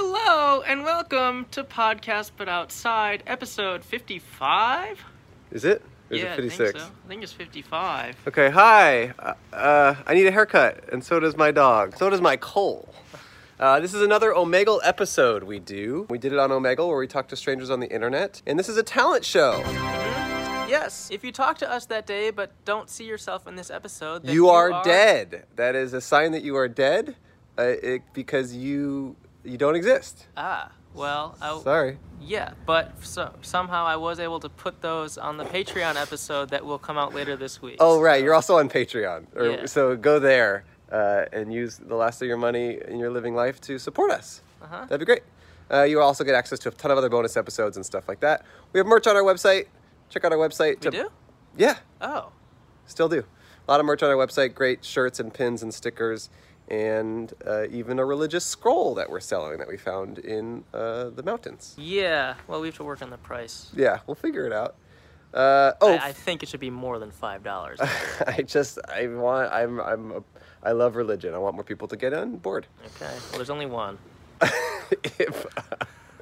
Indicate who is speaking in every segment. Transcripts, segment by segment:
Speaker 1: Hello and welcome to Podcast But Outside, episode 55?
Speaker 2: Is it? Or is
Speaker 1: yeah,
Speaker 2: it 56?
Speaker 1: I think so. I think it's 55.
Speaker 2: Okay, hi. Uh, Uh, I need a haircut, and so does my dog. So does my coal. Uh, this is another Omegle episode we do. We did it on Omegle where we talk to strangers on the internet, and this is a talent show.
Speaker 1: Yes, if you talk to us that day but don't see yourself in this episode, then
Speaker 2: You are dead. That is a sign that you are dead uh, it, because you you don't exist.
Speaker 1: Ah, well, I,
Speaker 2: Sorry.
Speaker 1: yeah, but so, somehow I was able to put those on the Patreon episode that will come out later this week.
Speaker 2: Oh right, you're also on Patreon, or,
Speaker 1: Yeah.
Speaker 2: so go there uh, and use the last of your money in your living life to support us.
Speaker 1: Uh-huh.
Speaker 2: That'd be great. Uh, you also get access to a ton of other bonus episodes and stuff like that. We have merch on our website. Check out our website.
Speaker 1: We do?
Speaker 2: Yeah,
Speaker 1: Oh,
Speaker 2: still do. A lot of merch on our website. Great shirts and pins and stickers, and uh, even a religious scroll that we're selling that we found in uh, the mountains.
Speaker 1: yeah. Well, we have to work on the price.
Speaker 2: Yeah, we'll figure it out. Uh, oh,
Speaker 1: I, I think it should be more than $5.
Speaker 2: I just I want I'm I'm a, I love religion. I want more people to get on board.
Speaker 1: okay, well, there's only one.
Speaker 2: if,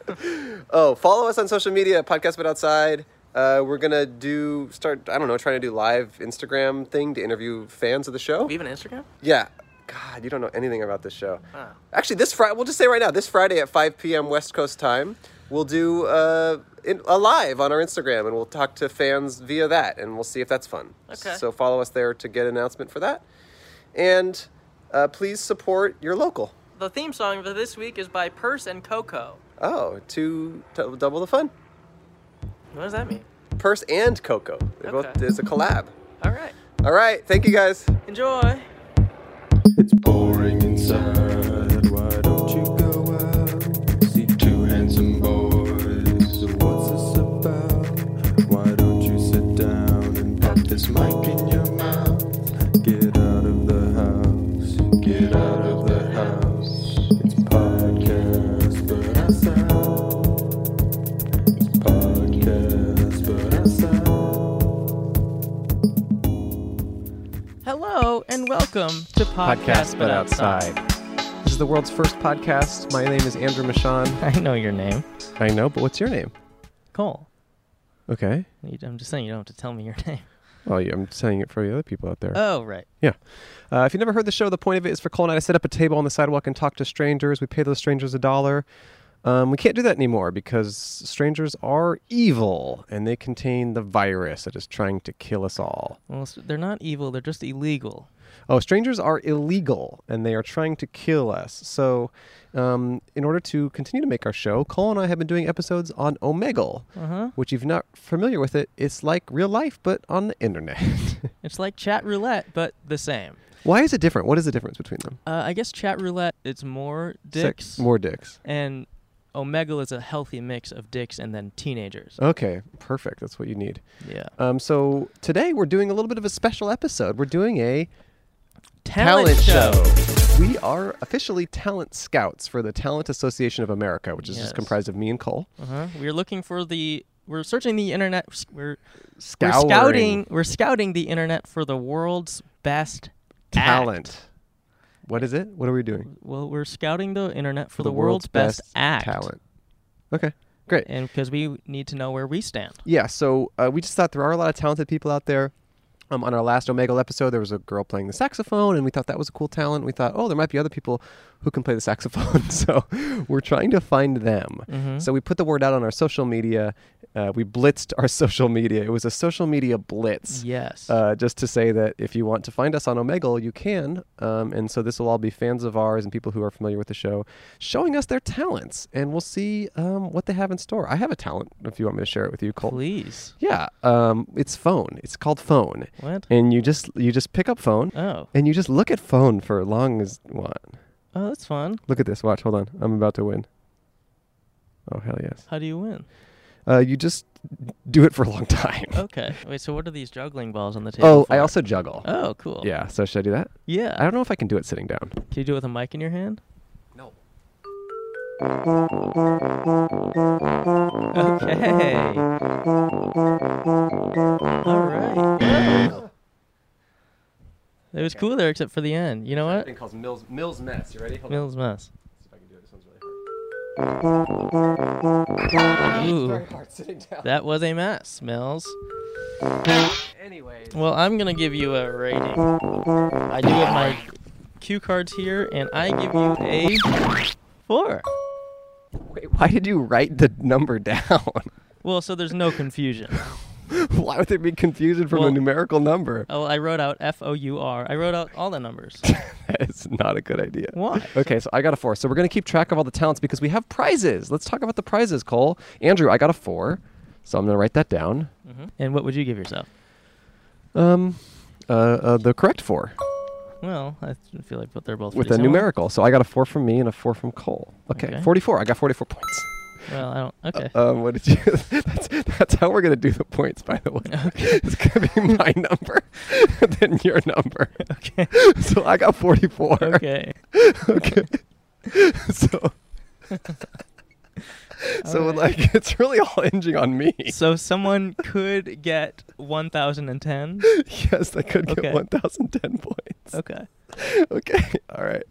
Speaker 2: oh, follow us on social media, podcast but outside. Uh, we're gonna do start I don't know trying to do live Instagram thing to interview fans of the show.
Speaker 1: We have an Instagram? Ah.
Speaker 2: Yeah. God, you don't know anything about this show.
Speaker 1: Wow.
Speaker 2: Actually, this Friday, we'll just say right now, this Friday at 5 p.m. West Coast time, we'll do uh, in, a live on our Instagram and we'll talk to fans via that and we'll see if that's fun.
Speaker 1: Okay.
Speaker 2: So follow us there to get an announcement for that. And uh, please support your local.
Speaker 1: The theme song for this week is by Purse and Coco.
Speaker 2: Oh, to t- double the fun.
Speaker 1: What does that mean?
Speaker 2: Purse and Coco. They're both,
Speaker 1: Okay.
Speaker 2: it's a collab.
Speaker 1: All right.
Speaker 2: All right. Thank you guys.
Speaker 1: Enjoy.
Speaker 3: It's boring inside. Why don't you go out? See two handsome boys. So what's this about? Why don't you sit down and pop this mic in your mouth? Get out of the house. Get out of the house. It's podcast, but outside. It's podcast, but outside.
Speaker 1: Hello and welcome to Podcast,
Speaker 2: This is the world's first podcast. My name is Andrew Michon.
Speaker 1: I know your name,
Speaker 2: I know, but what's your name?
Speaker 1: Cole.
Speaker 2: Okay.
Speaker 1: You- I'm just saying you don't have to tell me your name.
Speaker 2: Well, yeah, I'm saying it for the other people out there.
Speaker 1: Oh right.
Speaker 2: Yeah. Uh, if you've never heard the show, the point of it is for Cole and I to set up a table on the sidewalk and talk to strangers. We pay those strangers a dollar. Um, we can't do that anymore because strangers are evil and they contain the virus that is trying to kill us all.
Speaker 1: Well, s- they're not evil. They're just illegal.
Speaker 2: Oh, strangers are illegal and they are trying to kill us. So, um, in order to continue to make our show, Cole and I have been doing episodes on Omegle,
Speaker 1: Uh-huh.
Speaker 2: which, if you're not familiar with it, it's like real life but on the internet.
Speaker 1: It's like chat roulette, but the same.
Speaker 2: Why is it different? What is the difference between them?
Speaker 1: Uh, I guess chat roulette. It's more dicks.
Speaker 2: Sex- more dicks.
Speaker 1: And Omegle is a healthy mix of dicks and then teenagers.
Speaker 2: Okay, perfect. That's what you need.
Speaker 1: Yeah.
Speaker 2: Um, so today we're doing a little bit of a special episode. We're doing a
Speaker 1: Talent, show.
Speaker 2: We are officially talent scouts for the Talent Association of America, which is
Speaker 1: Yes.
Speaker 2: just comprised of me and Cole.
Speaker 1: Uh-huh. We're looking for the. We're searching the internet. We're, we're
Speaker 2: Scouring
Speaker 1: scouting. We're scouting the internet for the world's best act.
Speaker 2: talent. What is it? What are we doing?
Speaker 1: Well, we're scouting the internet for the, world's, best, act.
Speaker 2: talent. Okay, great.
Speaker 1: And because we need to know where we stand.
Speaker 2: Yeah, so uh, we just thought there are a lot of talented people out there. Um, on our last Omegle episode, there was a girl playing the saxophone, and we thought that was a cool talent. We thought, oh, there might be other people who can play the saxophone. so we're trying to find them. So we put the word out on our social media. Uh, we blitzed our social media. It was a social media blitz.
Speaker 1: Yes.
Speaker 2: Uh, just to say that if you want to find us on Omegle, you can. Um, and so this will all be fans of ours and people who are familiar with the show showing us their talents, and we'll see um, what they have in store. I have a talent if you want me to share it with you, Cole.
Speaker 1: Please.
Speaker 2: Yeah, um, it's phone. It's called phone,
Speaker 1: What?
Speaker 2: and you just you just pick up phone
Speaker 1: Oh.
Speaker 2: and you just look at phone for as long as what.
Speaker 1: Oh, that's fun.
Speaker 2: Look at this. Watch. Hold on. I'm about to win. Oh hell yes.
Speaker 1: How do you win?
Speaker 2: Uh, you just do it for a long time.
Speaker 1: Okay. Wait. So what are these juggling balls on the table?
Speaker 2: Oh, I
Speaker 1: for?
Speaker 2: also juggle.
Speaker 1: Oh, cool.
Speaker 2: Yeah. So should I do that?
Speaker 1: Yeah.
Speaker 2: I don't know if I can do it sitting down.
Speaker 1: Can you do it with a mic in your hand?
Speaker 2: No.
Speaker 1: Okay. All right. Wow. It was cool there, except for the end. You know what?
Speaker 2: called Mills Mills mess. You ready? Hold
Speaker 1: Mills mess.
Speaker 2: See if I can do it. This one's really hard.
Speaker 1: Ooh,
Speaker 2: hard sitting down.
Speaker 1: that was a mess, Mills.
Speaker 2: Anyways.
Speaker 1: Well, I'm gonna give you a rating. I do have my cue cards here, and I give you a four.
Speaker 2: Wait, why did you write the number down?
Speaker 1: Well, so there's no confusion.
Speaker 2: why would there be confusion from a
Speaker 1: Well-
Speaker 2: numerical number?
Speaker 1: Oh, I wrote out F O U R. I wrote out all the numbers.
Speaker 2: that is not a good idea.
Speaker 1: Why?
Speaker 2: Okay, so I got a four. So we're gonna keep track of all the talents because we have prizes. Let's talk about the prizes, Cole. Andrew, I got a four, so I'm gonna write that down.
Speaker 1: Mm-hmm. And what would you give yourself?
Speaker 2: Um, uh, uh the correct four
Speaker 1: Well, I feel like they're both
Speaker 2: with a
Speaker 1: pretty similar.
Speaker 2: numerical. So I got a four from me and a four from Cole. Okay,
Speaker 1: Okay.
Speaker 2: 44. I got 44 points.
Speaker 1: Well, I don't. Okay.
Speaker 2: Um, what did you? That's, that's how we're gonna do the points, by the way. It's gonna be my number, then your number.
Speaker 1: okay.
Speaker 2: So I got forty-four.
Speaker 1: Okay.
Speaker 2: Okay. so. so
Speaker 1: Alright.
Speaker 2: like it's really all hinging on me.
Speaker 1: So someone could get 1,010.
Speaker 2: yes, I could get
Speaker 1: Okay.
Speaker 2: one thousand ten points.
Speaker 1: Okay.
Speaker 2: okay. All right.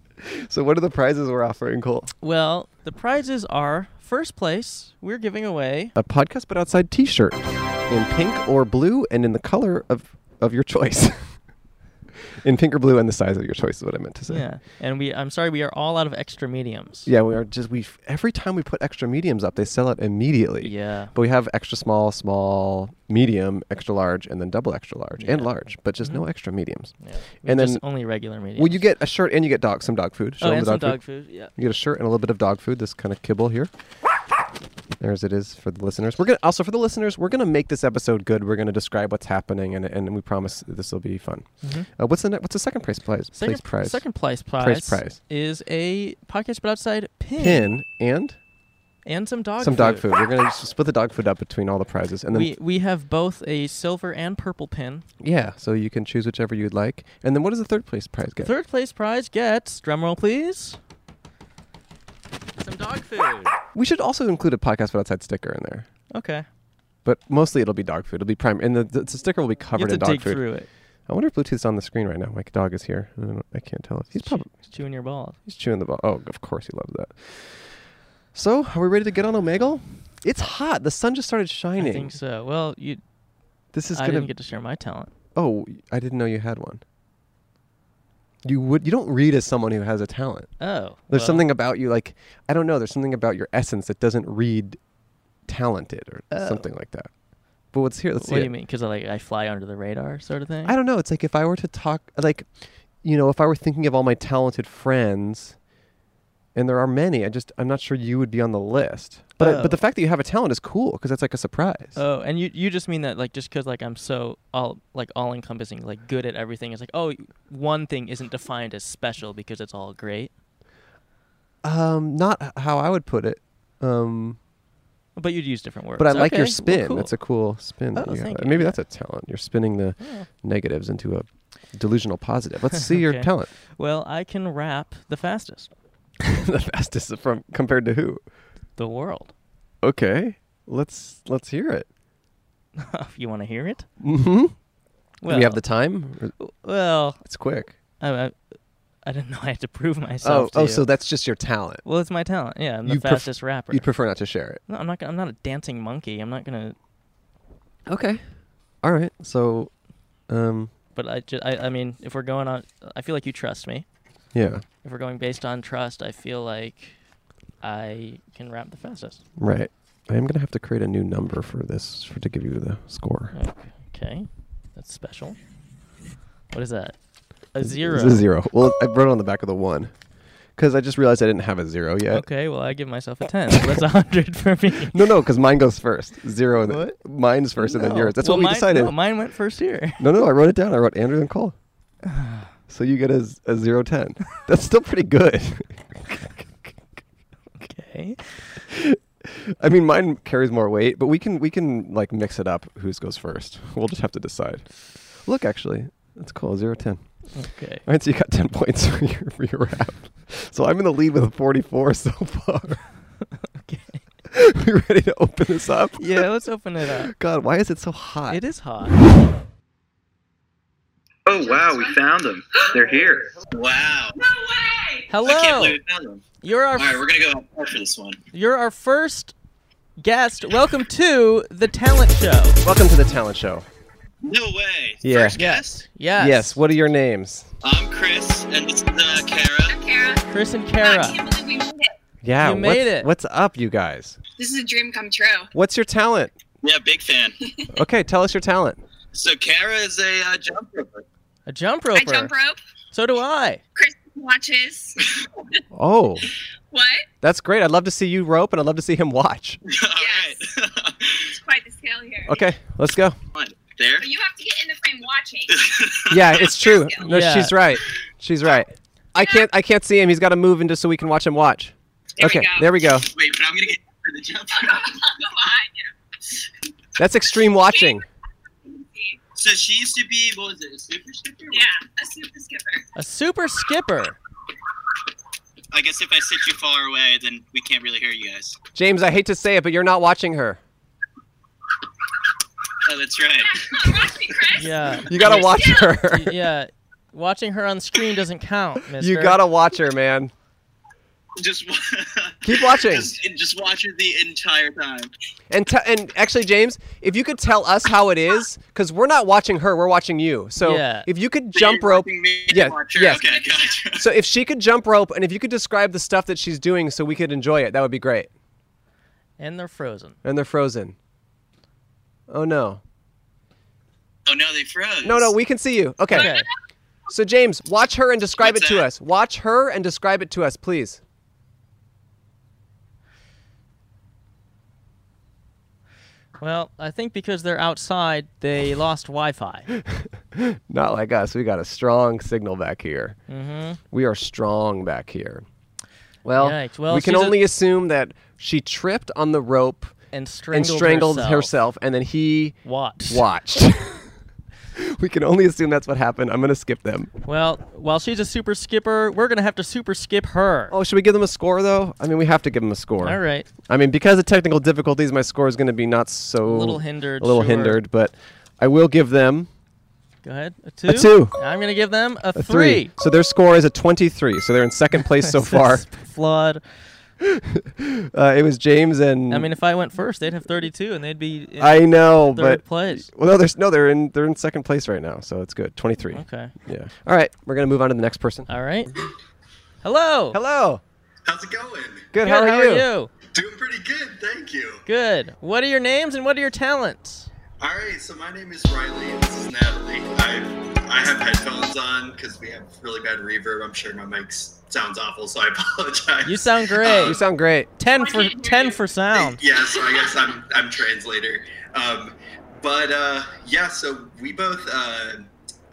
Speaker 2: So what are the prizes we're offering, Cole?
Speaker 1: Well, the prizes are first place, we're giving away
Speaker 2: A podcast but outside T-shirt in pink or blue, and in the color of of your choice. in pink or blue, and the size of your choice is what I meant to say.
Speaker 1: Yeah, and we. I'm sorry, we are all out of extra mediums.
Speaker 2: Yeah, we are just we every time we put extra mediums up, they sell out immediately.
Speaker 1: Yeah.
Speaker 2: But we have extra small, small, medium, extra large, and then double extra large and
Speaker 1: Yeah.
Speaker 2: large, but just no
Speaker 1: Mhm.
Speaker 2: extra mediums.
Speaker 1: Yeah. We
Speaker 2: And
Speaker 1: just
Speaker 2: then-
Speaker 1: only regular mediums.
Speaker 2: Well, you get a shirt and you get dog some dog food. Show
Speaker 1: oh,
Speaker 2: 'em
Speaker 1: and
Speaker 2: the
Speaker 1: some
Speaker 2: dog
Speaker 1: dog food. Yeah.
Speaker 2: You get a shirt and a little bit of dog food. This kind of kibble here. There's it is for the listeners. We're gonna also for the listeners. We're gonna make this episode good. We're gonna describe what's happening, and and we promise this will be fun.
Speaker 1: Mhm.
Speaker 2: Uh, what's the ne- what's the second prize prize?
Speaker 1: Second
Speaker 2: place prize
Speaker 1: Second place prize.
Speaker 2: Prize prize.
Speaker 1: is a podcast, but outside pin,
Speaker 2: pin and
Speaker 1: and some dog
Speaker 2: some
Speaker 1: food.
Speaker 2: dog food. We're gonna s- split the dog food up between all the prizes, and then
Speaker 1: We we have both a silver and purple pin.
Speaker 2: yeah, so you can choose whichever you'd like. And then what does the third place prize get?
Speaker 1: Third place prize gets drumroll please. Some dog food.
Speaker 2: We should also include a podcast but outside sticker in there,
Speaker 1: Okay.
Speaker 2: but mostly it'll be dog food. It'll be prime, and the, the, the sticker will be covered
Speaker 1: you have
Speaker 2: in
Speaker 1: to
Speaker 2: dog
Speaker 1: dig
Speaker 2: food.
Speaker 1: through it.
Speaker 2: I wonder if Bluetooth's on the screen right now. My dog is here. I, don't know. I can't tell. If he's
Speaker 1: Chew-
Speaker 2: probably
Speaker 1: chewing your balls.
Speaker 2: he's chewing the ball. Oh, of course he loves that. So, are we ready to get on Omegle? It's hot. The sun just started shining.
Speaker 1: I think so. Well, you.
Speaker 2: This is
Speaker 1: I
Speaker 2: gonna.
Speaker 1: didn't get to share my talent.
Speaker 2: oh, I didn't know you had one. You would. You don't read as someone who has a talent.
Speaker 1: Oh. well,
Speaker 2: There's something about you, like I don't know. There's something about your essence that doesn't read talented or
Speaker 1: Oh.
Speaker 2: something like that. But let's hear. Let's see.
Speaker 1: What do
Speaker 2: it.
Speaker 1: you mean? Because I like I fly under the radar sort of thing.
Speaker 2: I don't know. It's like if I were to talk, like, you know, if I were thinking of all my talented friends, and there are many, I just I'm not sure you would be on the list. But I-
Speaker 1: Oh.
Speaker 2: but the fact that you have a talent is cool because that's like a surprise.
Speaker 1: Oh, and you you just mean that like just 'cause like I'm so all like all encompassing, like good at everything. It's like oh, one thing isn't defined as special because it's all great.
Speaker 2: Um, not h- how I would put it. Um,
Speaker 1: But you'd use different words.
Speaker 2: but I like
Speaker 1: Okay,
Speaker 2: your
Speaker 1: well,
Speaker 2: spin.
Speaker 1: cool.
Speaker 2: That's a cool spin. that
Speaker 1: Oh,
Speaker 2: you have.
Speaker 1: thank you,
Speaker 2: Maybe
Speaker 1: yeah.
Speaker 2: that's a talent. You're spinning the
Speaker 1: Yeah.
Speaker 2: negatives into a delusional positive. Let's see your
Speaker 1: Okay.
Speaker 2: talent.
Speaker 1: Well, I can rap the fastest
Speaker 2: the fastest from compared to who?
Speaker 1: the world.
Speaker 2: Okay, let's let's hear it.
Speaker 1: if you want to hear it.
Speaker 2: Mm-hmm.
Speaker 1: Well,
Speaker 2: Do we have the time? Or-
Speaker 1: well,
Speaker 2: It's quick.
Speaker 1: I, I, I didn't know I had to prove myself. to
Speaker 2: oh,
Speaker 1: you.
Speaker 2: so that's just your talent.
Speaker 1: well, it's my talent. Yeah, I'm the
Speaker 2: You pref-
Speaker 1: fastest rapper.
Speaker 2: You'd prefer not to share it.
Speaker 1: no, I'm not. gonna- I'm not a dancing monkey. I'm not gonna.
Speaker 2: Okay. All right. So, um,
Speaker 1: But I, ju- I, I mean, if we're going on, I feel like you trust me.
Speaker 2: yeah,
Speaker 1: if we're going based on trust, I feel like I can rap the fastest.
Speaker 2: right. I am gonna have to create a new number for this for to give you the score.
Speaker 1: Okay, that's special. What is that? A
Speaker 2: It's-
Speaker 1: zero.
Speaker 2: It's a zero. Well, I wrote it on the back of the one because I just realized I didn't have a zero yet.
Speaker 1: Okay, well I give myself a ten. so that's a hundred for me.
Speaker 2: No, no, because mine goes first. Zero. And then,
Speaker 1: What?
Speaker 2: mine's first, and then
Speaker 1: No.
Speaker 2: yours. That's
Speaker 1: Well,
Speaker 2: what we
Speaker 1: mine-
Speaker 2: decided.
Speaker 1: No, mine went first here.
Speaker 2: no, no, I wrote it down. I wrote Andrew and Cole. So you get a, z- a zero ten. That's still pretty good.
Speaker 1: Okay.
Speaker 2: I mean, mine carries more weight, but we can we can like mix it up. Whose goes first? We'll just have to decide. Look, actually, that's cool. Zero ten.
Speaker 1: Okay.
Speaker 2: All right, so you got ten points for your, for your rap. So I'm in the lead with a forty-four so far.
Speaker 1: Okay.
Speaker 2: we ready to open this up?
Speaker 1: Yeah, let's open it up.
Speaker 2: God, why is it so hot?
Speaker 1: It is hot.
Speaker 4: Oh wow, we found them. They're here. Wow.
Speaker 5: No way!
Speaker 4: I can't
Speaker 1: Hello.
Speaker 4: believe we found them.
Speaker 1: You're our
Speaker 4: All right, we're gonna go hard for this one.
Speaker 1: you're our first guest. Welcome to the talent show.
Speaker 2: Welcome to the talent show.
Speaker 4: No way.
Speaker 2: Yeah.
Speaker 4: First guest.
Speaker 1: Yes.
Speaker 2: Yes. What are your names?
Speaker 4: I'm Chris, and this is uh, Kara.
Speaker 5: I'm Kara.
Speaker 1: Chris and
Speaker 5: I
Speaker 1: Kara.
Speaker 5: can't believe we made it.
Speaker 2: Yeah.
Speaker 1: You made
Speaker 2: what's,
Speaker 1: it.
Speaker 2: What's up, you guys?
Speaker 5: This is a dream come true.
Speaker 2: What's your talent?
Speaker 4: Yeah, big fan.
Speaker 2: Okay, tell us your talent.
Speaker 4: So Kara is a uh, jump roper.
Speaker 1: A jump
Speaker 5: I
Speaker 1: roper.
Speaker 5: jump rope.
Speaker 1: So do I.
Speaker 5: Chris watches.
Speaker 2: Oh,
Speaker 5: what?
Speaker 2: that's great. I'd love to see you rope, and I'd love to see him watch.
Speaker 4: All right.
Speaker 5: Yes. It's quite the scale here.
Speaker 2: Okay, let's go.
Speaker 4: One. There.
Speaker 5: But you have to get in the frame watching.
Speaker 2: Yeah, it's true. No,
Speaker 1: Yeah.
Speaker 2: she's right. She's right. I can't. I can't see him. He's got to move in just so we can watch him watch.
Speaker 5: There
Speaker 2: okay,
Speaker 5: we go.
Speaker 2: there we go.
Speaker 4: Wait, but I'm gonna get for the jump rope.
Speaker 2: That's extreme watching.
Speaker 4: So she used to be what was it? A super skipper?
Speaker 5: yeah, a super skipper.
Speaker 1: A super skipper.
Speaker 4: I guess if I sit too far away, then we can't really hear you guys.
Speaker 2: James, I hate to say it, but you're not watching her.
Speaker 4: Oh, that's right.
Speaker 5: Yeah, watch me, Chris.
Speaker 1: Yeah.
Speaker 2: You gotta watch her.
Speaker 1: Y- yeah. Watching her on screen doesn't count, mister.
Speaker 2: You gotta watch her, man.
Speaker 4: Just wa-
Speaker 2: Keep watching.
Speaker 4: Just, just watch it the entire time.
Speaker 2: And t- and actually, James, if you could tell us how it is, because we're not watching her, we're watching you. So
Speaker 1: Yeah.
Speaker 2: if you could
Speaker 4: So
Speaker 2: jump
Speaker 4: you're
Speaker 2: rope.
Speaker 4: watching me
Speaker 2: Yeah,
Speaker 4: watch her?
Speaker 2: yes.
Speaker 4: Okay, gotcha.
Speaker 2: So if she could jump rope, and if you could describe the stuff that she's doing, so we could enjoy it, that would be great.
Speaker 1: And they're frozen.
Speaker 2: And they're frozen. Oh no.
Speaker 4: Oh no, they froze.
Speaker 2: No, no, we can see you. Okay.
Speaker 1: Okay.
Speaker 2: So James, watch her and describe
Speaker 4: What's
Speaker 2: it to
Speaker 4: that?
Speaker 2: us. Watch her and describe it to us, please.
Speaker 1: Well, I think because they're outside, they lost Wi-Fi.
Speaker 2: Not like us. We got a strong signal back here.
Speaker 1: Mm-hmm.
Speaker 2: We are strong back here. Well,
Speaker 1: Yikes. Well,
Speaker 2: we can
Speaker 1: she's a-
Speaker 2: only assume that she tripped on the rope
Speaker 1: And strangled,
Speaker 2: and strangled herself,
Speaker 1: herself.
Speaker 2: and then he
Speaker 1: Watch.
Speaker 2: watched. we can only assume that's what happened. I'm going to skip them.
Speaker 1: Well, while she's a super skipper, we're gonna have to super skip her.
Speaker 2: Oh, should we give them a score, though? I mean, we have to give them a score.
Speaker 1: All right.
Speaker 2: I mean, because of technical difficulties, my score is going to be not so.
Speaker 1: A little hindered.
Speaker 2: A little
Speaker 1: sure.
Speaker 2: hindered, but I will give them
Speaker 1: Go ahead. A two.
Speaker 2: a two.
Speaker 1: I'm gonna give them a,
Speaker 2: A three. So their score is a 23. So they're in second place so far.
Speaker 1: Flawed.
Speaker 2: Uh, it was James and
Speaker 1: I mean, if I went first, they'd have 32, and they'd be in
Speaker 2: I know,
Speaker 1: third
Speaker 2: but
Speaker 1: place.
Speaker 2: well, no, there's no, they're in they're in second place right now, so it's good. 23.
Speaker 1: Okay.
Speaker 2: Yeah. All right, we're gonna move on to the next person.
Speaker 1: All right. Hello.
Speaker 2: Hello.
Speaker 6: How's it going?
Speaker 2: Good.
Speaker 1: Good,
Speaker 2: how, are, you?
Speaker 6: Doing pretty good, thank you.
Speaker 1: Good. What are your names and what are your talents?
Speaker 6: All right, so my name is Riley and this is Natalie. I I have headphones on because we have really bad reverb. I'm sure my mic s- sounds awful, so I apologize. Um,
Speaker 1: You sound great.
Speaker 2: You sound great.
Speaker 1: ten for ten for sound.
Speaker 6: Yeah, so I guess I'm I'm translator. Um, but uh, yeah, so we both. Uh,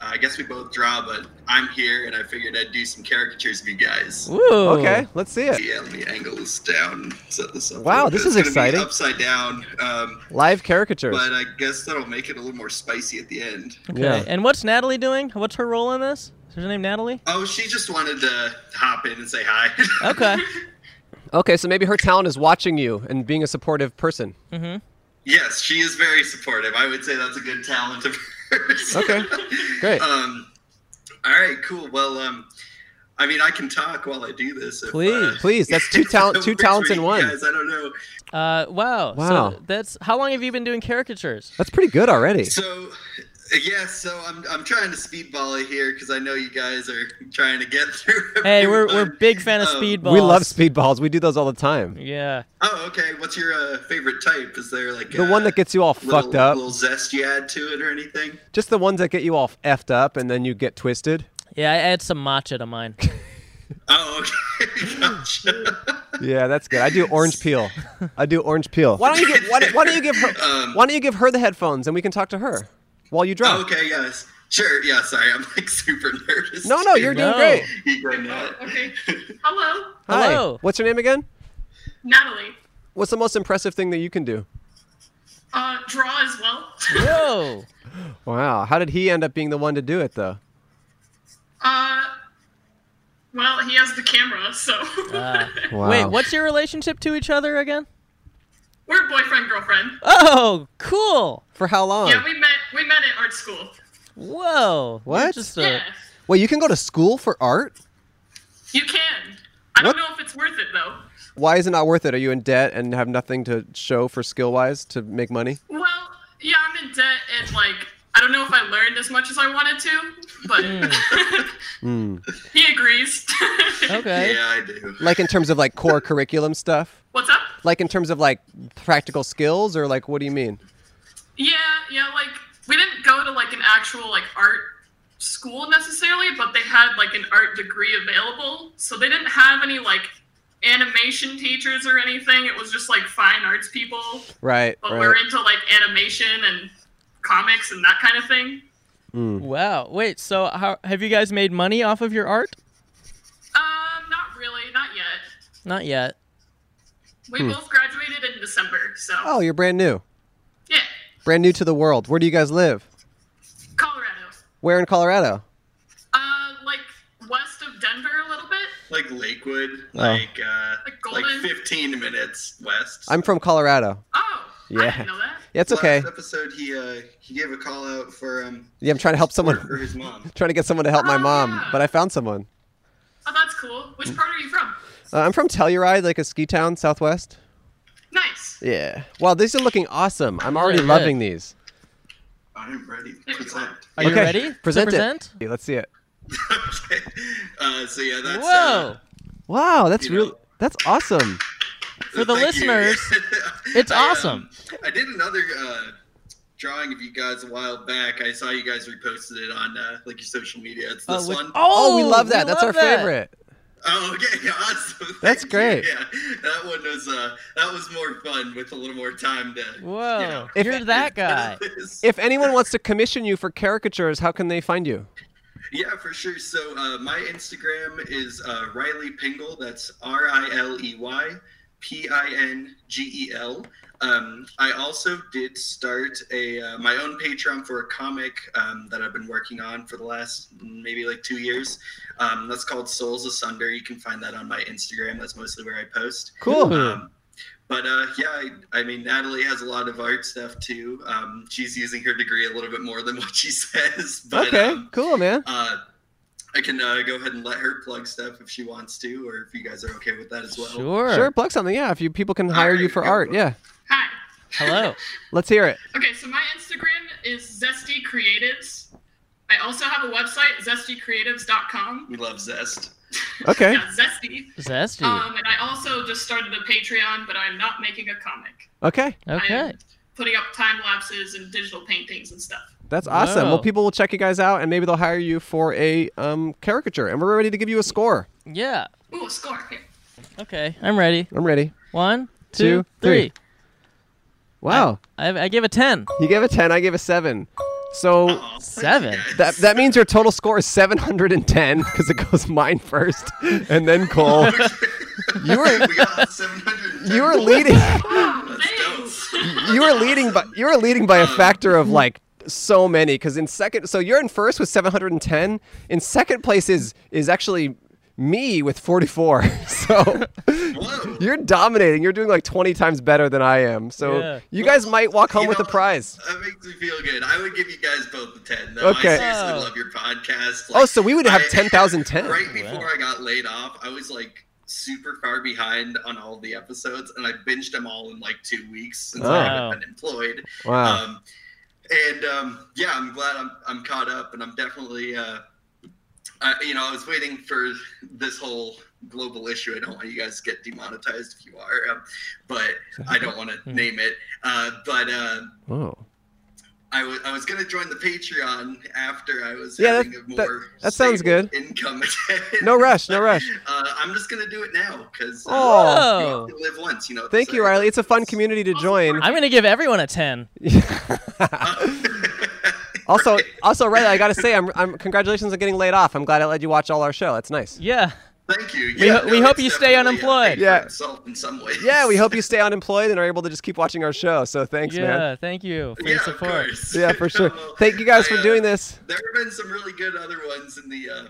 Speaker 6: I guess we both draw, but I'm here and I figured I'd do some caricatures of you guys.
Speaker 1: Ooh.
Speaker 2: Okay, let's see it.
Speaker 6: Yeah, let me angle this down. Set this up.
Speaker 2: Wow,
Speaker 6: a little
Speaker 2: this
Speaker 6: bit.
Speaker 2: is
Speaker 6: It's gonna be
Speaker 2: exciting.
Speaker 6: Upside down. Um,
Speaker 2: Live caricatures.
Speaker 6: but uh, I guess that'll make it a little more spicy at the end.
Speaker 1: Okay.
Speaker 2: Yeah.
Speaker 1: And what's Natalie doing? What's her role in this? Is her name Natalie?
Speaker 6: Oh, she just wanted to hop in and say hi.
Speaker 1: Okay.
Speaker 2: Okay, so maybe her talent is watching you and being a supportive person.
Speaker 1: mm-hmm.
Speaker 6: yes, she is very supportive. I would say that's a good talent of hers.
Speaker 2: Okay, great.
Speaker 6: Um, all right, cool. Well, um, I mean, I can talk while I do this. If,
Speaker 1: Please.
Speaker 2: Please, that's two talent-
Speaker 6: if it
Speaker 2: two
Speaker 6: works
Speaker 2: talents
Speaker 6: for
Speaker 2: in
Speaker 6: you
Speaker 2: one.
Speaker 6: Guys, I don't know.
Speaker 1: Uh, wow.
Speaker 2: Wow.
Speaker 1: So that's how long have you been doing caricatures?
Speaker 2: That's pretty good already.
Speaker 6: So, yeah, so I'm, I'm trying to speedball it here because I know you guys are trying to get through.
Speaker 1: Hey, we're we're
Speaker 6: everyone.
Speaker 1: big fan of
Speaker 6: Um,
Speaker 1: speedballs.
Speaker 2: We love speedballs. We do those all the time.
Speaker 1: uh, Yeah.
Speaker 6: Oh, okay. What's your uh, favorite type? Is there like
Speaker 2: The one that gets you all
Speaker 6: little,
Speaker 2: fucked up.
Speaker 6: Little zest you add to it or anything?
Speaker 2: Just the ones that get you all effed up and then you get twisted.
Speaker 1: Yeah. I add some matcha to mine.
Speaker 6: Oh, okay. Gotcha.
Speaker 2: Yeah, that's good. I do orange peel. I do orange peel. Why don't you give why, why don't you give her
Speaker 6: Um,
Speaker 2: why don't you give her the headphones and we can talk to her while you draw?
Speaker 6: Oh, okay, yes. Sure, yeah, sorry. I'm like super nervous.
Speaker 2: No, no, you're doing
Speaker 1: No.
Speaker 2: great.
Speaker 6: You go nuts.
Speaker 5: Okay. Oh, Hello,
Speaker 2: Hi.
Speaker 1: Hello.
Speaker 2: What's your name again?
Speaker 5: Natalie.
Speaker 2: What's the most impressive thing that you can do?
Speaker 5: Uh, draw as well.
Speaker 1: Whoa.
Speaker 2: Wow. How did he end up being the one to do it though?
Speaker 5: Uh, well, he has the camera, so
Speaker 1: Uh,
Speaker 2: Wow.
Speaker 1: Wait. What's your relationship to each other again?
Speaker 5: we're boyfriend girlfriend.
Speaker 1: Oh, cool.
Speaker 2: for how
Speaker 1: Oh.
Speaker 2: long?
Speaker 5: Yeah, we met we met at art school.
Speaker 1: Whoa. You're
Speaker 2: What?
Speaker 1: Just a-
Speaker 5: Yeah.
Speaker 2: Wait, you can go to school for art?
Speaker 5: You can. I
Speaker 2: What?
Speaker 5: don't know if it's worth it though.
Speaker 2: Why is it not worth it? Are you in debt and have nothing to show for skill wise to make money?
Speaker 5: Well, yeah, I'm in debt and like I don't know if I learned as much as I wanted to,
Speaker 1: Hmm.
Speaker 5: but
Speaker 2: Mm.
Speaker 5: he agrees.
Speaker 1: Okay.
Speaker 6: Yeah, I do.
Speaker 2: Like in terms of like core curriculum stuff?
Speaker 5: What's up?
Speaker 2: Like in terms of like practical skills or like what do you mean?
Speaker 5: Yeah, yeah, like we didn't go to like an actual like art school necessarily, but they had like an art degree available. So they didn't have any like animation teachers or anything. It was just like fine arts people,
Speaker 2: Right.
Speaker 5: but
Speaker 2: right.
Speaker 5: we're into like animation and comics and that kind of thing.
Speaker 2: Mm.
Speaker 1: Wow. Wait. So, how have you guys made money off of your art?
Speaker 5: Um, not really, not yet.
Speaker 1: Not yet.
Speaker 5: We
Speaker 2: Hmm.
Speaker 5: both graduated in December, so
Speaker 2: Oh, you're brand new.
Speaker 5: yeah,
Speaker 2: Brand new to the world. Where do you guys live?
Speaker 5: Colorado.
Speaker 2: Where in Colorado?
Speaker 5: Uh, like west of Denver a little bit,
Speaker 6: Like Lakewood,
Speaker 2: Oh.
Speaker 6: like uh,
Speaker 5: like
Speaker 6: like
Speaker 5: Golden.
Speaker 6: 15 minutes west.
Speaker 2: I'm from Colorado.
Speaker 5: oh, I
Speaker 2: Yeah.
Speaker 5: didn't know that.
Speaker 2: Yeah, it's okay.
Speaker 6: Last episode, he uh, he gave a call out for um
Speaker 2: Yeah, I'm trying to help
Speaker 6: for-
Speaker 2: someone.
Speaker 6: for his mom.
Speaker 2: Trying to get someone to help my
Speaker 5: Oh,
Speaker 2: mom,
Speaker 5: yeah.
Speaker 2: but I found someone.
Speaker 5: Oh, that's cool.
Speaker 2: Hmm.
Speaker 5: Which part are you from?
Speaker 2: Uh, I'm from Telluride, like a ski town, Southwest.
Speaker 5: Nice.
Speaker 2: Yeah. Wow, these are looking awesome. I'm already
Speaker 1: Really good.
Speaker 2: loving these.
Speaker 6: I'm ready.
Speaker 5: There you
Speaker 6: Present.
Speaker 1: Are you
Speaker 2: Okay,
Speaker 1: ready? to
Speaker 2: present it.
Speaker 1: present?
Speaker 2: Yeah, let's see it.
Speaker 6: okay. Uh, so yeah, that's
Speaker 1: Whoa.
Speaker 6: uh,
Speaker 2: Wow, that's
Speaker 6: You know-
Speaker 2: really that's awesome.
Speaker 1: For the
Speaker 6: Thank you.
Speaker 1: listeners, it's
Speaker 6: I, um,
Speaker 1: awesome.
Speaker 6: I did another uh, drawing of you guys a while back. I saw you guys reposted it on uh, like your social media. It's this
Speaker 1: which-
Speaker 6: one. Oh,
Speaker 2: Oh, we love that. that's
Speaker 1: love
Speaker 2: our
Speaker 1: that.
Speaker 2: favorite.
Speaker 6: okay, yeah, awesome. Thank
Speaker 2: That's
Speaker 6: you.
Speaker 2: great.
Speaker 6: Yeah, that one was uh, that was more fun with a little more time to. you
Speaker 1: Whoa.
Speaker 6: know,
Speaker 2: If-
Speaker 1: You're that guy.
Speaker 2: If anyone wants to commission you for caricatures, how can they find you?
Speaker 6: Yeah, for sure. So uh, my Instagram is uh, Riley Pingle. That's R I L E Y P I N G E L. Um, I also did start a uh, my own Patreon for a comic um, that I've been working on for the last maybe like two years. Um, that's called Souls Asunder. You can find that on my Instagram. That's mostly where I post.
Speaker 2: Cool.
Speaker 6: Um, but uh, yeah, I, I mean, Natalie has a lot of art stuff too. Um, she's using her degree a little bit more than what she says. But,
Speaker 2: okay,
Speaker 6: um,
Speaker 2: cool, man.
Speaker 6: uh, I can uh, go ahead and let her plug stuff if she wants to, or if you guys are okay with that as well.
Speaker 1: Sure.
Speaker 2: Sure, plug something. Yeah, if you people can hire you
Speaker 6: Alright,
Speaker 2: for
Speaker 6: go
Speaker 2: art,
Speaker 6: for it.
Speaker 2: yeah.
Speaker 5: Hi.
Speaker 1: Hello.
Speaker 2: Let's hear it.
Speaker 5: Okay, so my Instagram is Zesty Creatives. I also have a website, zestycreatives.com.
Speaker 6: We love Zest.
Speaker 2: Okay.
Speaker 5: Yeah, Zesty.
Speaker 1: Zesty.
Speaker 5: Um, and I also just started a Patreon, but I'm not making a comic.
Speaker 2: Okay.
Speaker 1: okay.
Speaker 5: I'm putting up time lapses and digital paintings and stuff.
Speaker 2: That's awesome. Well,
Speaker 1: Wow.
Speaker 2: people will check you guys out and maybe they'll hire you for a um, caricature. And we're ready to give you a score.
Speaker 1: Yeah.
Speaker 5: Ooh, a score. Here.
Speaker 1: Okay. I'm ready.
Speaker 2: I'm ready.
Speaker 1: One,
Speaker 2: Two,
Speaker 1: two,
Speaker 2: three.
Speaker 1: three.
Speaker 2: Wow.
Speaker 1: I, I gave a ten.
Speaker 2: You gave a 10, I gave a 7. So
Speaker 6: Aw, thank
Speaker 1: Seven.
Speaker 6: you guys.
Speaker 2: that that means your total score is 710 because it goes mine first and then Cole. Oh. You were
Speaker 6: we got 710.
Speaker 2: you were leading
Speaker 5: Wow,
Speaker 6: That's
Speaker 5: thanks.
Speaker 2: you were leading by you were leading by a factor of like so many because in second so you're in first with 710 in second place is is actually me with 44 so
Speaker 6: Whoa.
Speaker 2: you're dominating you're doing like 20 times better than i am so
Speaker 1: Yeah.
Speaker 2: you guys might walk home
Speaker 6: You
Speaker 2: with a
Speaker 6: know, uh,
Speaker 2: prize
Speaker 6: That makes me feel good. I would give you guys both a 10, though.
Speaker 2: Okay.
Speaker 6: I seriously
Speaker 1: Wow.
Speaker 6: love your podcast.
Speaker 2: oh so we would have
Speaker 6: I-
Speaker 2: 10010
Speaker 1: Oh,
Speaker 6: Right before I got laid off, I was like super far behind on all the episodes, and I binged them all in like two weeks since I
Speaker 1: Wow.
Speaker 6: haven't been employed.
Speaker 2: wow
Speaker 6: Um, and um, yeah, I'm glad I'm, I'm caught up, and I'm definitely, uh, I, you know, I was waiting for this whole global issue. I don't want you guys to get demonetized if you are, um, but I don't want
Speaker 2: Hmm.
Speaker 6: to name it. Uh, but uh,
Speaker 2: oh
Speaker 6: I was I was gonna join the Patreon after I was
Speaker 2: Yeah,
Speaker 6: having
Speaker 2: that-
Speaker 6: a more
Speaker 2: that- that sounds
Speaker 6: stable
Speaker 2: good.
Speaker 6: income again.
Speaker 2: no rush no rush
Speaker 6: Uh, I'm just gonna do it now because
Speaker 2: Aw.
Speaker 1: Whoa.
Speaker 6: live once, you know. what they
Speaker 2: Oh. thank you
Speaker 6: say.
Speaker 2: riley it's a fun community to join
Speaker 1: Oh. I'm gonna give everyone a ten.
Speaker 2: also also riley i gotta say I'm, I'm congratulations on getting laid off i'm glad i let you watch all our show that's nice
Speaker 1: Yeah.
Speaker 6: Thank you.
Speaker 1: We ho- we hope you stay
Speaker 6: uh,
Speaker 1: unemployed.
Speaker 2: Yeah.
Speaker 6: Yeah. in some ways.
Speaker 2: Yeah, we hope you stay unemployed and are able to just keep watching our show. So thanks,
Speaker 1: yeah.
Speaker 2: man.
Speaker 1: Thank you for
Speaker 6: Yeah,
Speaker 1: your
Speaker 6: of
Speaker 1: support.
Speaker 6: course.
Speaker 2: Yeah, for sure.
Speaker 6: Well,
Speaker 2: Thank you guys
Speaker 6: I,
Speaker 2: for
Speaker 6: uh,
Speaker 2: doing this.
Speaker 6: There have been some really good other ones in the uh,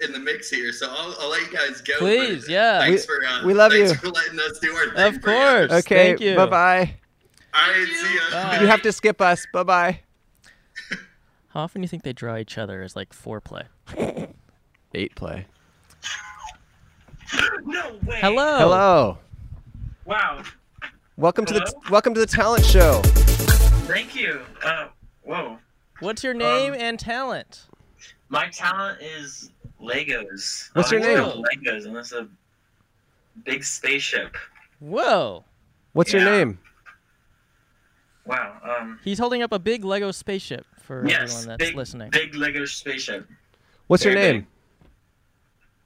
Speaker 6: in the mix here, so I'll, I'll let you guys go. but
Speaker 1: Please, yeah.
Speaker 6: Thanks
Speaker 2: We-
Speaker 6: for uh,
Speaker 2: we love
Speaker 6: thanks
Speaker 2: you.
Speaker 6: for letting us do our thing.
Speaker 1: Of
Speaker 6: for you.
Speaker 1: course.
Speaker 2: Okay,
Speaker 1: Thank you.
Speaker 2: bye bye.
Speaker 6: All right,
Speaker 5: Thank
Speaker 6: see
Speaker 5: you.
Speaker 6: ya.
Speaker 1: Bye.
Speaker 2: You have to skip us. Bye bye.
Speaker 1: How often do you think they draw each other as like foreplay?
Speaker 2: Eight play.
Speaker 4: No way.
Speaker 1: Hello.
Speaker 2: Hello.
Speaker 4: Wow.
Speaker 2: Welcome to
Speaker 4: Hello?
Speaker 2: the welcome to the talent show.
Speaker 4: Thank you. Uh, whoa.
Speaker 1: What's your name
Speaker 4: Um,
Speaker 1: and talent?
Speaker 4: My talent is Legos.
Speaker 2: What's
Speaker 4: I
Speaker 2: your
Speaker 4: like to build Legos, and that's a big spaceship.
Speaker 1: Whoa.
Speaker 2: What's your
Speaker 4: Yeah.
Speaker 2: name?
Speaker 4: Wow. Um.
Speaker 1: He's holding up a big Lego spaceship for
Speaker 4: Yes.
Speaker 1: everyone that's
Speaker 4: Big,
Speaker 1: listening.
Speaker 4: big Lego spaceship.
Speaker 2: What's your
Speaker 7: Very
Speaker 2: name?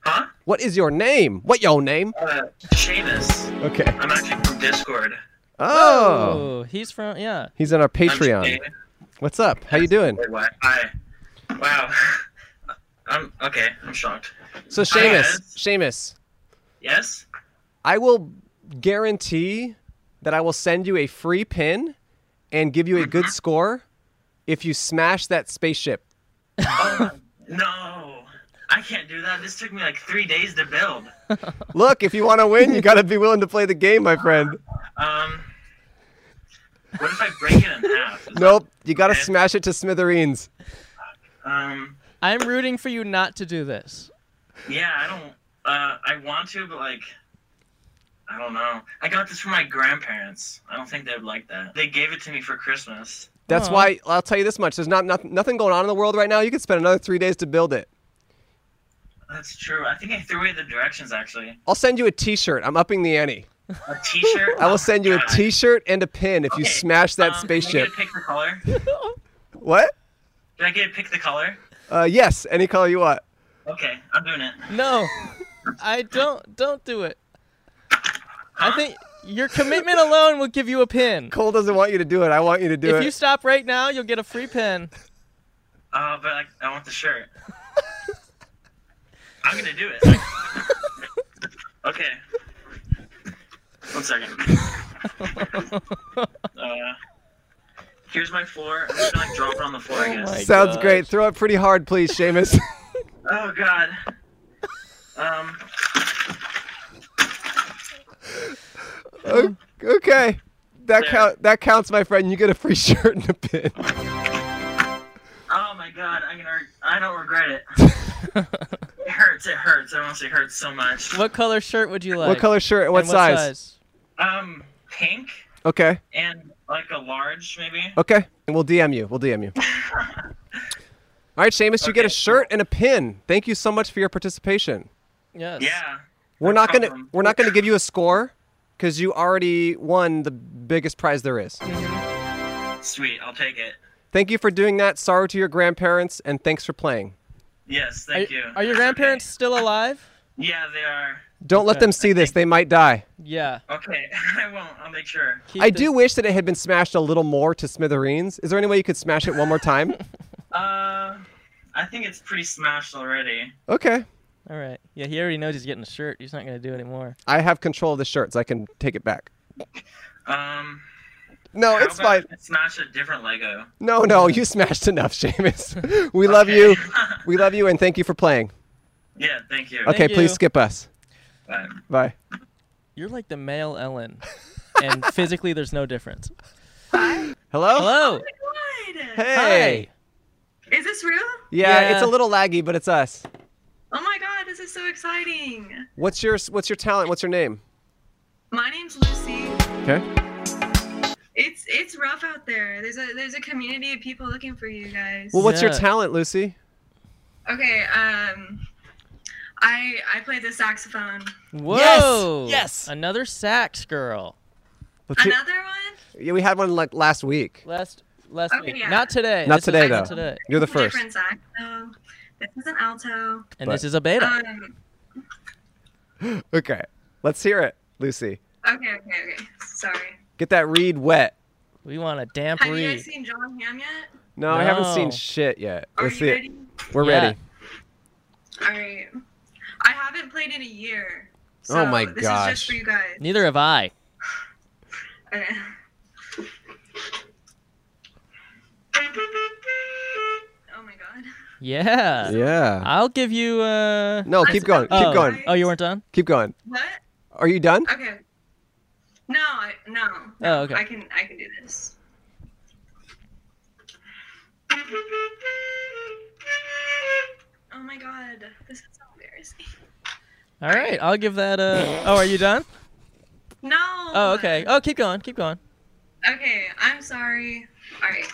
Speaker 4: Huh?
Speaker 2: What is your name? What your name?
Speaker 4: Uh, Seamus.
Speaker 2: Okay.
Speaker 4: I'm actually from Discord.
Speaker 2: Oh,
Speaker 1: he's from yeah.
Speaker 2: he's on our
Speaker 4: I'm
Speaker 2: Patreon.
Speaker 4: Seamus.
Speaker 2: What's up? How you doing?
Speaker 4: Wait, what? I. Wow. I'm okay. I'm shocked.
Speaker 2: So Seamus, Seamus,
Speaker 4: Yes.
Speaker 2: I will guarantee that I will send you a free pin and give you a
Speaker 4: Mm-hmm.
Speaker 2: good score if you smash that spaceship.
Speaker 4: No. I can't do that. This took me like three days to build.
Speaker 2: Look, if you want to win, you got to be willing to play the game, my friend.
Speaker 4: Um. What if I break it in half? Is
Speaker 2: Nope, you got to
Speaker 4: Okay.
Speaker 2: smash it to smithereens.
Speaker 4: that- Um.
Speaker 1: I'm rooting for you not to do this.
Speaker 4: Yeah, I don't. Uh, I want to, but like, I don't know. I got this from my grandparents. I don't think they would like that. They gave it to me for Christmas.
Speaker 2: That's
Speaker 1: Aw.
Speaker 2: why I'll tell you this much: there's not, nothing nothing going on in the world right now. You could spend another three days to build it.
Speaker 4: That's true. I think I threw away the directions actually.
Speaker 2: I'll send you a T-shirt. I'm upping the ante.
Speaker 4: A T-shirt.
Speaker 2: I will send you a
Speaker 4: God.
Speaker 2: T-shirt and a pin if you
Speaker 4: Okay,
Speaker 2: smash that
Speaker 4: Um,
Speaker 2: spaceship.
Speaker 4: Did I get to pick the color?
Speaker 2: What?
Speaker 4: Did I get to pick the color?
Speaker 2: Uh, yes, any color you want.
Speaker 4: Okay, I'm doing it.
Speaker 1: No. I don't don't do it. I think your commitment alone will give you a pin.
Speaker 2: Cole doesn't want you to do it. I want you to do
Speaker 1: if
Speaker 2: it.
Speaker 1: you stop right now, you'll get a free pin.
Speaker 4: Uh, but like, I want the shirt. I'm gonna do it. okay. One second. uh, here's my floor. I'm just gonna like drop it on the floor, I
Speaker 1: Oh my
Speaker 4: guess.
Speaker 2: Sounds
Speaker 1: gosh.
Speaker 2: great. Throw it pretty hard, please, Seamus.
Speaker 4: Oh god. Um.
Speaker 2: O- okay. That
Speaker 4: There.
Speaker 2: count. That counts, my friend. You get a free shirt and a pin.
Speaker 4: Oh my god. I'm gonna. Re- I don't regret it. it hurts. It hurts. I honestly hurts so much.
Speaker 1: What color shirt would you like?
Speaker 2: what color shirt? and
Speaker 1: And
Speaker 2: What, size?
Speaker 4: Um, pink
Speaker 2: Okay.
Speaker 4: and like a large maybe.
Speaker 2: Okay. And we'll DM you. We'll DM you. All right, Seamus, you get a
Speaker 4: Okay,
Speaker 2: shirt and a pin. Thank you so much for your participation.
Speaker 1: Yes.
Speaker 4: Yeah.
Speaker 2: We're
Speaker 4: No
Speaker 2: not gonna
Speaker 4: problem.
Speaker 2: we're not gonna give you a score because you already won the biggest prize there is.
Speaker 4: Sweet. I'll take it.
Speaker 2: Thank you for doing that. Sorry to your grandparents, and thanks for playing.
Speaker 4: Yes.
Speaker 1: Are,
Speaker 4: Thank you.
Speaker 1: are your
Speaker 4: That's okay.
Speaker 1: grandparents still alive?
Speaker 4: Yeah, they are.
Speaker 2: Don't let
Speaker 1: Okay.
Speaker 2: them see this; they might die.
Speaker 1: Yeah.
Speaker 4: Okay, I won't. I'll make sure.
Speaker 1: Keep
Speaker 2: I
Speaker 1: the-
Speaker 2: do wish that it had been smashed a little more to smithereens. Is there any way you could smash it one more time?
Speaker 4: Uh, I think it's pretty smashed already.
Speaker 2: okay,
Speaker 1: All right. Yeah, he already knows he's getting a shirt. He's not gonna do it anymore.
Speaker 2: I have control of the shirts. I can take it back.
Speaker 4: Um,
Speaker 2: No,
Speaker 4: how
Speaker 2: it's
Speaker 4: about
Speaker 2: fine.
Speaker 4: if I Smash a different Lego.
Speaker 2: No, no, you smashed enough, Seamus. We love
Speaker 4: Okay.
Speaker 2: you. We love you, and thank you for playing.
Speaker 4: yeah, thank you.
Speaker 2: Okay,
Speaker 1: Thank
Speaker 2: please
Speaker 1: you.
Speaker 2: skip us.
Speaker 4: Bye.
Speaker 2: Bye.
Speaker 1: You're like the male Ellen, and physically there's no difference.
Speaker 2: Hello.
Speaker 5: Oh
Speaker 1: Hello.
Speaker 8: Good.
Speaker 2: Hey.
Speaker 1: Hi.
Speaker 8: Is this real?
Speaker 2: Yeah,
Speaker 1: Yeah.
Speaker 2: it's a little laggy, but it's us.
Speaker 8: Oh my god, this is so exciting.
Speaker 2: What's your What's your talent? What's your name?
Speaker 8: My name's Lucy.
Speaker 2: Okay.
Speaker 9: It's it's rough out there. There's a there's a community of people looking for you guys.
Speaker 2: Well, what's your
Speaker 1: Yeah.
Speaker 2: talent, Lucy?
Speaker 9: Okay, um I I play the saxophone.
Speaker 1: Whoa.
Speaker 2: Yes.
Speaker 1: Another sax girl.
Speaker 2: Let's hear-
Speaker 9: Another one?
Speaker 2: Yeah, we had one like last week.
Speaker 1: Last last
Speaker 9: Okay,
Speaker 1: week.
Speaker 9: yeah.
Speaker 1: Not today.
Speaker 2: Not
Speaker 1: This is-
Speaker 2: today,
Speaker 1: not
Speaker 2: though.
Speaker 1: today.
Speaker 2: You're the first.
Speaker 9: Different sax. So this is an alto.
Speaker 1: And
Speaker 2: But-
Speaker 1: this is a beta.
Speaker 9: Um
Speaker 2: Okay, let's hear it, Lucy.
Speaker 9: okay, okay, okay. Sorry.
Speaker 2: Get that reed wet.
Speaker 1: We want a damp
Speaker 9: Have you
Speaker 1: read.
Speaker 9: guys seen John Hamm yet?
Speaker 2: No, I haven't
Speaker 1: No.
Speaker 2: seen shit yet.
Speaker 9: Are
Speaker 2: Let's
Speaker 9: you
Speaker 2: see it.
Speaker 9: ready?
Speaker 2: We're
Speaker 1: Yeah.
Speaker 2: ready.
Speaker 9: Alright. I haven't played in a year. So
Speaker 2: Oh my
Speaker 9: this is
Speaker 2: gosh.
Speaker 9: just for you guys.
Speaker 1: Neither have I.
Speaker 9: Okay. Oh my god.
Speaker 1: Yeah.
Speaker 2: Yeah.
Speaker 1: I'll give you. uh
Speaker 2: No, keep going.
Speaker 1: oh.
Speaker 2: Keep going.
Speaker 1: Oh, you weren't done.
Speaker 2: Keep going.
Speaker 9: What?
Speaker 2: Are you done?
Speaker 9: Okay. No, I, no.
Speaker 1: Oh, okay.
Speaker 9: I can I can do this. Oh my god, this is so embarrassing.
Speaker 1: All right, I'll give that a. Oh, are you done?
Speaker 9: No.
Speaker 1: Oh, okay. Oh, keep going, keep going.
Speaker 9: Okay, I'm sorry. All right.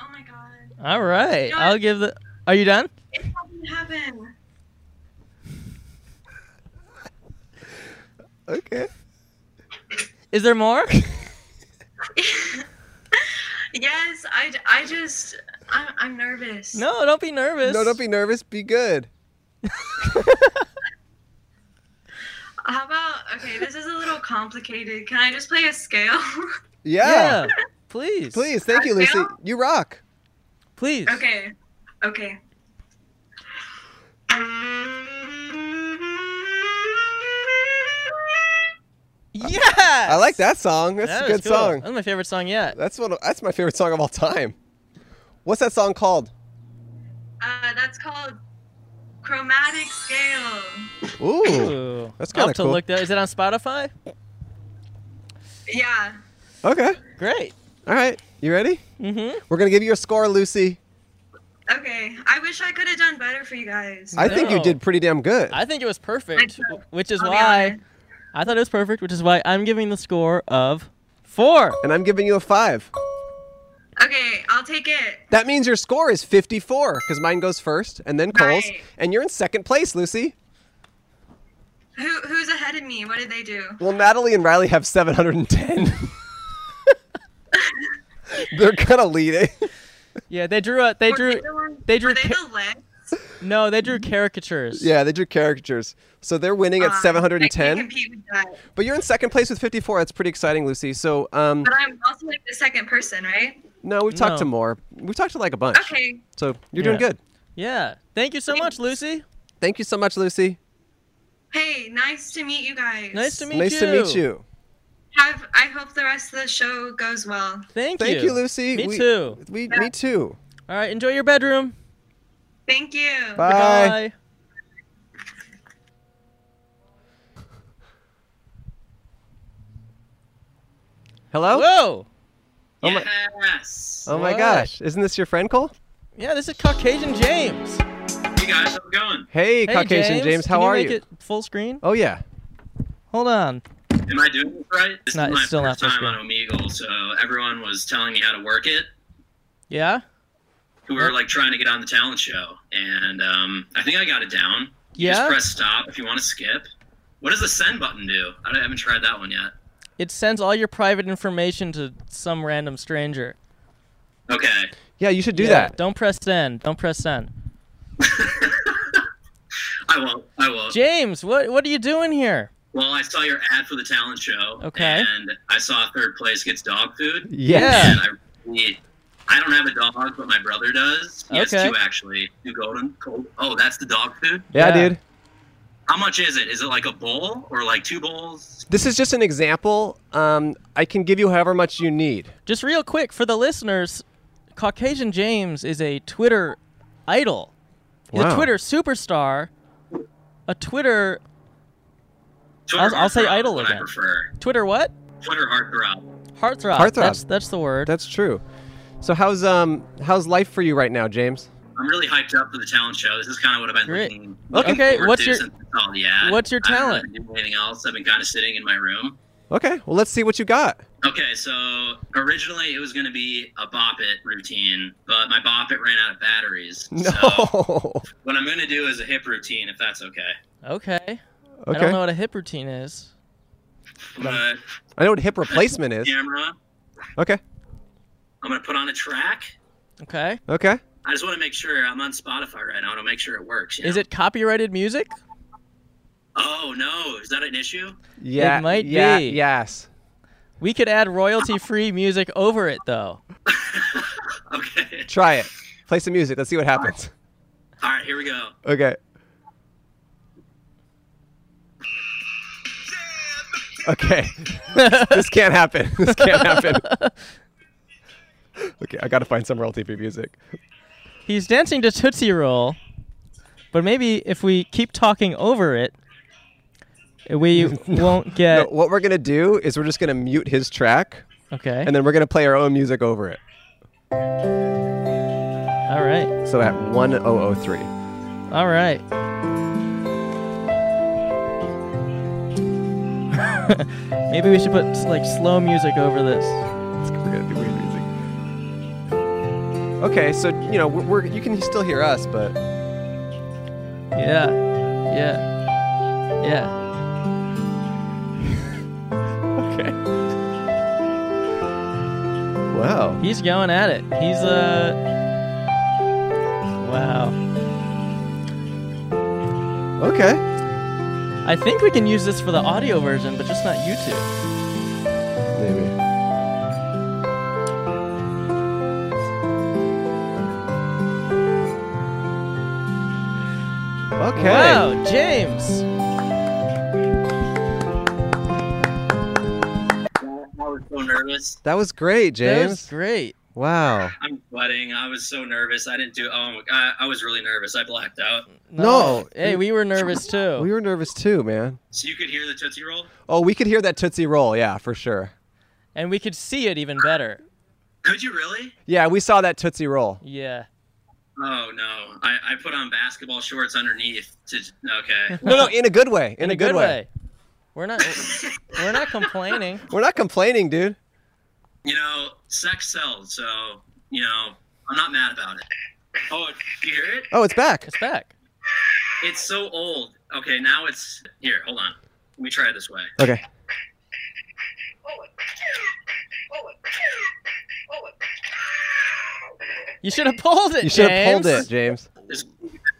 Speaker 9: Oh my god.
Speaker 1: All right, I'll give the. Are you done?
Speaker 9: It doesn't happen.
Speaker 2: Okay.
Speaker 1: Is there more?
Speaker 9: yes, I, j- I just, I'm, I'm nervous.
Speaker 1: No, don't be nervous.
Speaker 2: No, don't be nervous. Be good.
Speaker 9: How about, okay, this is a little complicated. Can I just play a scale?
Speaker 2: Yeah.
Speaker 1: Yeah, please,
Speaker 2: Please, thank you, Lucy.
Speaker 9: Scale?
Speaker 2: You rock.
Speaker 1: please.
Speaker 9: okay, okay.
Speaker 1: Yeah.
Speaker 2: I like that song. That's
Speaker 1: That
Speaker 2: a
Speaker 1: was
Speaker 2: good
Speaker 1: cool.
Speaker 2: song.
Speaker 1: That's my favorite song yet.
Speaker 2: That's one. Of, that's my favorite song of all time. What's that song called?
Speaker 9: Uh, that's called chromatic scale.
Speaker 2: Ooh.
Speaker 1: Ooh,
Speaker 2: That's
Speaker 1: I'll
Speaker 2: kinda
Speaker 1: have to
Speaker 2: cool.
Speaker 1: look that. Is it on Spotify?
Speaker 9: Yeah.
Speaker 2: Okay.
Speaker 1: Great.
Speaker 2: All right. You ready?
Speaker 1: Mm-hmm.
Speaker 2: We're gonna give you a score, Lucy.
Speaker 9: Okay. I wish I could have done better for you guys.
Speaker 2: I think you
Speaker 1: No.
Speaker 2: did pretty damn good.
Speaker 1: I think it was perfect,
Speaker 9: I know.
Speaker 1: wh- which is
Speaker 9: I'll be
Speaker 1: why
Speaker 9: honest.
Speaker 1: I thought it was perfect, which is why I'm giving the score of four.
Speaker 2: and I'm giving you a five.
Speaker 9: Okay, I'll take it.
Speaker 2: That means your score is 54 because mine goes first, and then Cole's,
Speaker 9: Right.
Speaker 2: and you're in second place, Lucy.
Speaker 9: Who who's ahead of me? What did they do?
Speaker 2: Well, Natalie and Riley have 710. They're gonna lead it.
Speaker 1: Yeah, they drew a. They
Speaker 9: Were
Speaker 1: drew.
Speaker 9: the ones-
Speaker 1: they drew
Speaker 9: Were they
Speaker 1: pi-
Speaker 9: the legs?
Speaker 1: No, they drew caricatures.
Speaker 2: Yeah, they drew caricatures. So they're winning at
Speaker 9: Um, I can't
Speaker 2: 710.
Speaker 9: compete with that.
Speaker 2: But you're in second place with 54. That's pretty exciting, Lucy. So, um,
Speaker 9: But I'm also like the second person, right?
Speaker 2: no, we've talked
Speaker 1: No.
Speaker 2: to more. We've talked to like a bunch.
Speaker 9: Okay.
Speaker 2: So you're doing
Speaker 1: Yeah.
Speaker 2: good.
Speaker 1: Yeah. Thank you so much, Lucy.
Speaker 2: Thank you so much, Lucy.
Speaker 9: Hey, nice to meet you guys.
Speaker 1: Nice to meet
Speaker 2: nice
Speaker 1: you.
Speaker 2: to meet you.
Speaker 9: Have I hope the rest of the show goes well.
Speaker 1: Thank,
Speaker 2: Thank
Speaker 1: you.
Speaker 2: you, Lucy.
Speaker 1: Me
Speaker 2: we,
Speaker 1: too.
Speaker 2: We, me too.
Speaker 1: All right, enjoy your bedroom.
Speaker 9: Thank you.
Speaker 2: Bye.
Speaker 1: Goodbye.
Speaker 2: Hello.
Speaker 1: Whoa.
Speaker 2: Oh my-
Speaker 10: yes.
Speaker 2: Oh my
Speaker 1: What?
Speaker 2: gosh! Isn't this your friend Cole?
Speaker 1: Yeah, this is Caucasian James.
Speaker 10: Hey guys, how's it going?
Speaker 2: Hey,
Speaker 1: Hey,
Speaker 2: Caucasian James, how
Speaker 1: Can
Speaker 2: are
Speaker 1: you?
Speaker 2: you?
Speaker 1: Make it full screen.
Speaker 2: Oh yeah.
Speaker 1: Hold on.
Speaker 10: Am I doing this right? This
Speaker 1: not-
Speaker 10: is
Speaker 1: it's
Speaker 10: my
Speaker 1: still not
Speaker 10: first time
Speaker 1: supposed
Speaker 10: on Omegle, so everyone was telling me how to work it.
Speaker 1: Yeah.
Speaker 10: Who were like trying to get on the talent show, and um, I think I got it down. You
Speaker 1: Yeah.
Speaker 10: Just press stop if you want to skip. What does the send button do? I haven't tried that one yet.
Speaker 1: It sends all your private information to some random stranger.
Speaker 10: Okay.
Speaker 2: Yeah, you should do
Speaker 1: Yeah,
Speaker 2: that.
Speaker 1: Don't press send. Don't press send.
Speaker 10: I won't. I won't.
Speaker 1: James, what what are you doing here?
Speaker 10: Well, I saw your ad for the talent show.
Speaker 1: Okay.
Speaker 10: And I saw third place gets dog food.
Speaker 1: Yeah.
Speaker 10: And I really, I don't have a dog, but my brother does. He
Speaker 1: Okay.
Speaker 10: has two actually. Two golden. Cold. Oh, that's the dog food.
Speaker 2: Yeah,
Speaker 1: Yeah.
Speaker 2: dude.
Speaker 10: How much is it? Is it like a bowl or like two bowls?
Speaker 2: This is just an example. Um, I can give you however much you need.
Speaker 1: Just real quick for the listeners, Caucasian James is a Twitter idol. He's
Speaker 2: Wow.
Speaker 1: a Twitter superstar. A Twitter
Speaker 10: Twitter
Speaker 1: I'll- I'll say
Speaker 10: heartthrob is
Speaker 1: idol
Speaker 10: what
Speaker 1: again.
Speaker 10: I prefer.
Speaker 1: Twitter what?
Speaker 10: Twitter heartthrob.
Speaker 1: Heartthrob.
Speaker 2: Heartthrob.
Speaker 1: That's that's the word.
Speaker 2: That's true. So how's um how's life for you right now, James?
Speaker 10: I'm really hyped up for the talent show. This is kind of what I've been
Speaker 1: Great.
Speaker 10: looking.
Speaker 1: Okay,
Speaker 10: looking forward
Speaker 1: what's
Speaker 10: to
Speaker 1: your-
Speaker 10: since I saw the ad.
Speaker 1: what's your
Speaker 10: I haven't
Speaker 1: talent?
Speaker 10: really done anything else? I've been kind of sitting in my room.
Speaker 2: Okay. Well, let's see what you got.
Speaker 10: Okay, so originally it was going to be a bop it routine, but my bop it ran out of batteries.
Speaker 2: No.
Speaker 10: So
Speaker 2: Oh.
Speaker 10: what I'm going to do is a hip routine, if that's okay.
Speaker 1: Okay. I
Speaker 2: okay.
Speaker 1: don't know what a hip routine is.
Speaker 10: I'm going to
Speaker 2: I know what hip replacement is.
Speaker 10: camera.
Speaker 2: Okay.
Speaker 10: I'm going to put on a track.
Speaker 1: Okay.
Speaker 2: Okay.
Speaker 10: I just want to make sure I'm on Spotify right now. I want to make sure it works. you
Speaker 1: Is
Speaker 10: know?
Speaker 1: it copyrighted music?
Speaker 10: Oh no, is that an issue?
Speaker 2: Yeah.
Speaker 1: might
Speaker 2: yeah,
Speaker 1: be.
Speaker 2: Yes.
Speaker 1: We could add royalty-free music over it though.
Speaker 10: Okay.
Speaker 2: Try it. Play some music. Let's see what happens.
Speaker 10: All right, here we go.
Speaker 2: Okay. Okay. this can't happen. This can't happen. okay, I gotta find some royalty free music.
Speaker 1: He's dancing to Tootsie Roll, but maybe if we keep talking over it, we won't
Speaker 2: No,
Speaker 1: get.
Speaker 2: what we're gonna do is we're just gonna mute his track
Speaker 1: Okay.
Speaker 2: and then we're gonna play our own music over it.
Speaker 1: All right.
Speaker 2: So at 1003.
Speaker 1: All right. Maybe we should put s- like slow music over this.
Speaker 2: We're gonna do weird music. Okay, so you know we're, we're you can still hear us, but
Speaker 1: Yeah. Yeah. Yeah.
Speaker 2: okay. Wow.
Speaker 1: He's going at it. He's uh Wow.
Speaker 2: Okay.
Speaker 1: I think we can use this for the audio version, but just not YouTube.
Speaker 2: Maybe. Okay.
Speaker 1: Wow, James.
Speaker 10: I was so nervous.
Speaker 2: That was great,
Speaker 1: That
Speaker 2: James.
Speaker 1: was great.
Speaker 2: Wow.
Speaker 10: I'm sweating. I was so nervous. I didn't do. Oh, I, I was really nervous. I blacked out.
Speaker 2: No.
Speaker 1: Hey, we were nervous too.
Speaker 2: We were nervous too, man.
Speaker 10: So you could hear the tootsie roll.
Speaker 2: Oh, we could hear that Tootsie Roll, yeah, for sure.
Speaker 1: and we could see it even better.
Speaker 10: Could you really?
Speaker 2: Yeah, we saw that Tootsie Roll.
Speaker 1: Yeah.
Speaker 10: Oh no. I, I put on basketball shorts underneath. To okay.
Speaker 2: No, no, in a good way. In,
Speaker 1: In, a, good, way. We're not we're not complaining.
Speaker 2: We're not complaining, dude.
Speaker 10: you know, sex sells. So you know, I'm not mad about it. Oh, you hear it?
Speaker 2: Oh, it's back.
Speaker 1: It's back.
Speaker 10: It's so old. Okay, now it's here. Hold on. Let me try it this way.
Speaker 2: Okay.
Speaker 1: You should have pulled it.
Speaker 2: You should have pulled it,
Speaker 1: James.
Speaker 2: James.
Speaker 10: This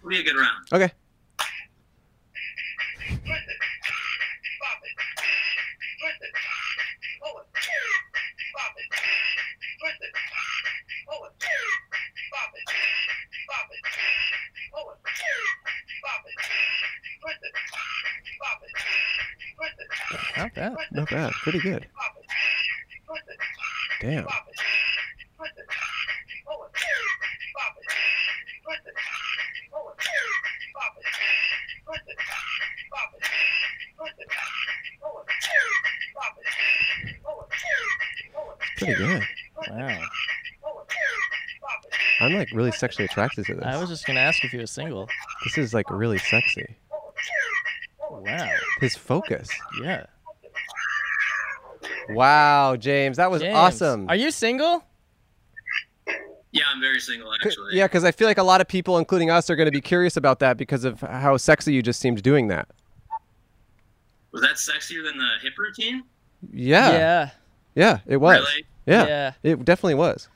Speaker 10: will be a good round.
Speaker 2: Okay.
Speaker 1: Not bad.
Speaker 2: Not bad. Pretty good. Damn. Pretty good.
Speaker 1: Wow.
Speaker 2: I'm like really sexually attracted to this.
Speaker 1: I was just gonna ask if he was single.
Speaker 2: This is like really sexy.
Speaker 1: Wow.
Speaker 2: His focus.
Speaker 1: Yeah.
Speaker 2: Wow, James, that was
Speaker 1: James,
Speaker 2: awesome.
Speaker 1: Are you single?
Speaker 10: Yeah, I'm very single
Speaker 2: C-
Speaker 10: actually.
Speaker 2: Yeah, because I feel like a lot of people, including us, are going to be curious about that because of how sexy you just seemed doing that.
Speaker 10: Was that sexier than the hip routine?
Speaker 2: Yeah, yeah,
Speaker 1: Yeah.
Speaker 2: it was.
Speaker 10: Really?
Speaker 2: Yeah,
Speaker 1: Yeah.
Speaker 2: it definitely was.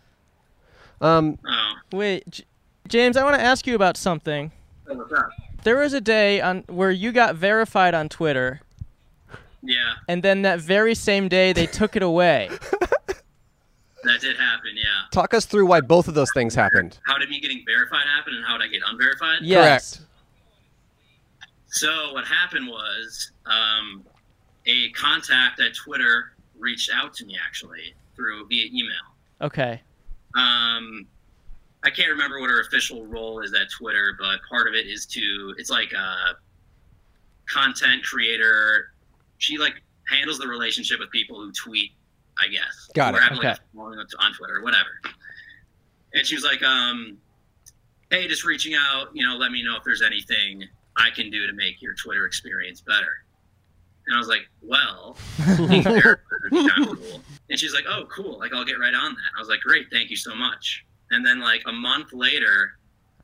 Speaker 2: Um,
Speaker 10: Oh.
Speaker 1: Wait, J- James, I want to ask you about something. There was a day on where you got verified on Twitter,
Speaker 10: Yeah,
Speaker 1: and then that very same day they took it away.
Speaker 10: that did happen. Yeah.
Speaker 2: talk us through why both of those things happened.
Speaker 10: How did me getting verified happen, and how did I get unverified?
Speaker 1: Yes.
Speaker 10: So what happened was um, a contact at Twitter reached out to me actually through via email.
Speaker 1: Okay.
Speaker 10: Um, I can't remember what her official role is at Twitter, but part of it is to it's like a content creator. She like handles the relationship with people who tweet, I guess.
Speaker 2: Got
Speaker 10: Or
Speaker 2: it,
Speaker 10: have, like,
Speaker 1: okay.
Speaker 10: a following on Twitter, whatever. And she was like, um, "Hey, just reaching out. You know, let me know if there's anything I can do to make your Twitter experience better." And I was like, "Well." being there for the time rule. And she's like, "Oh, cool! Like I'll get right on that." I was like, "Great, thank you so much." And then like a month later,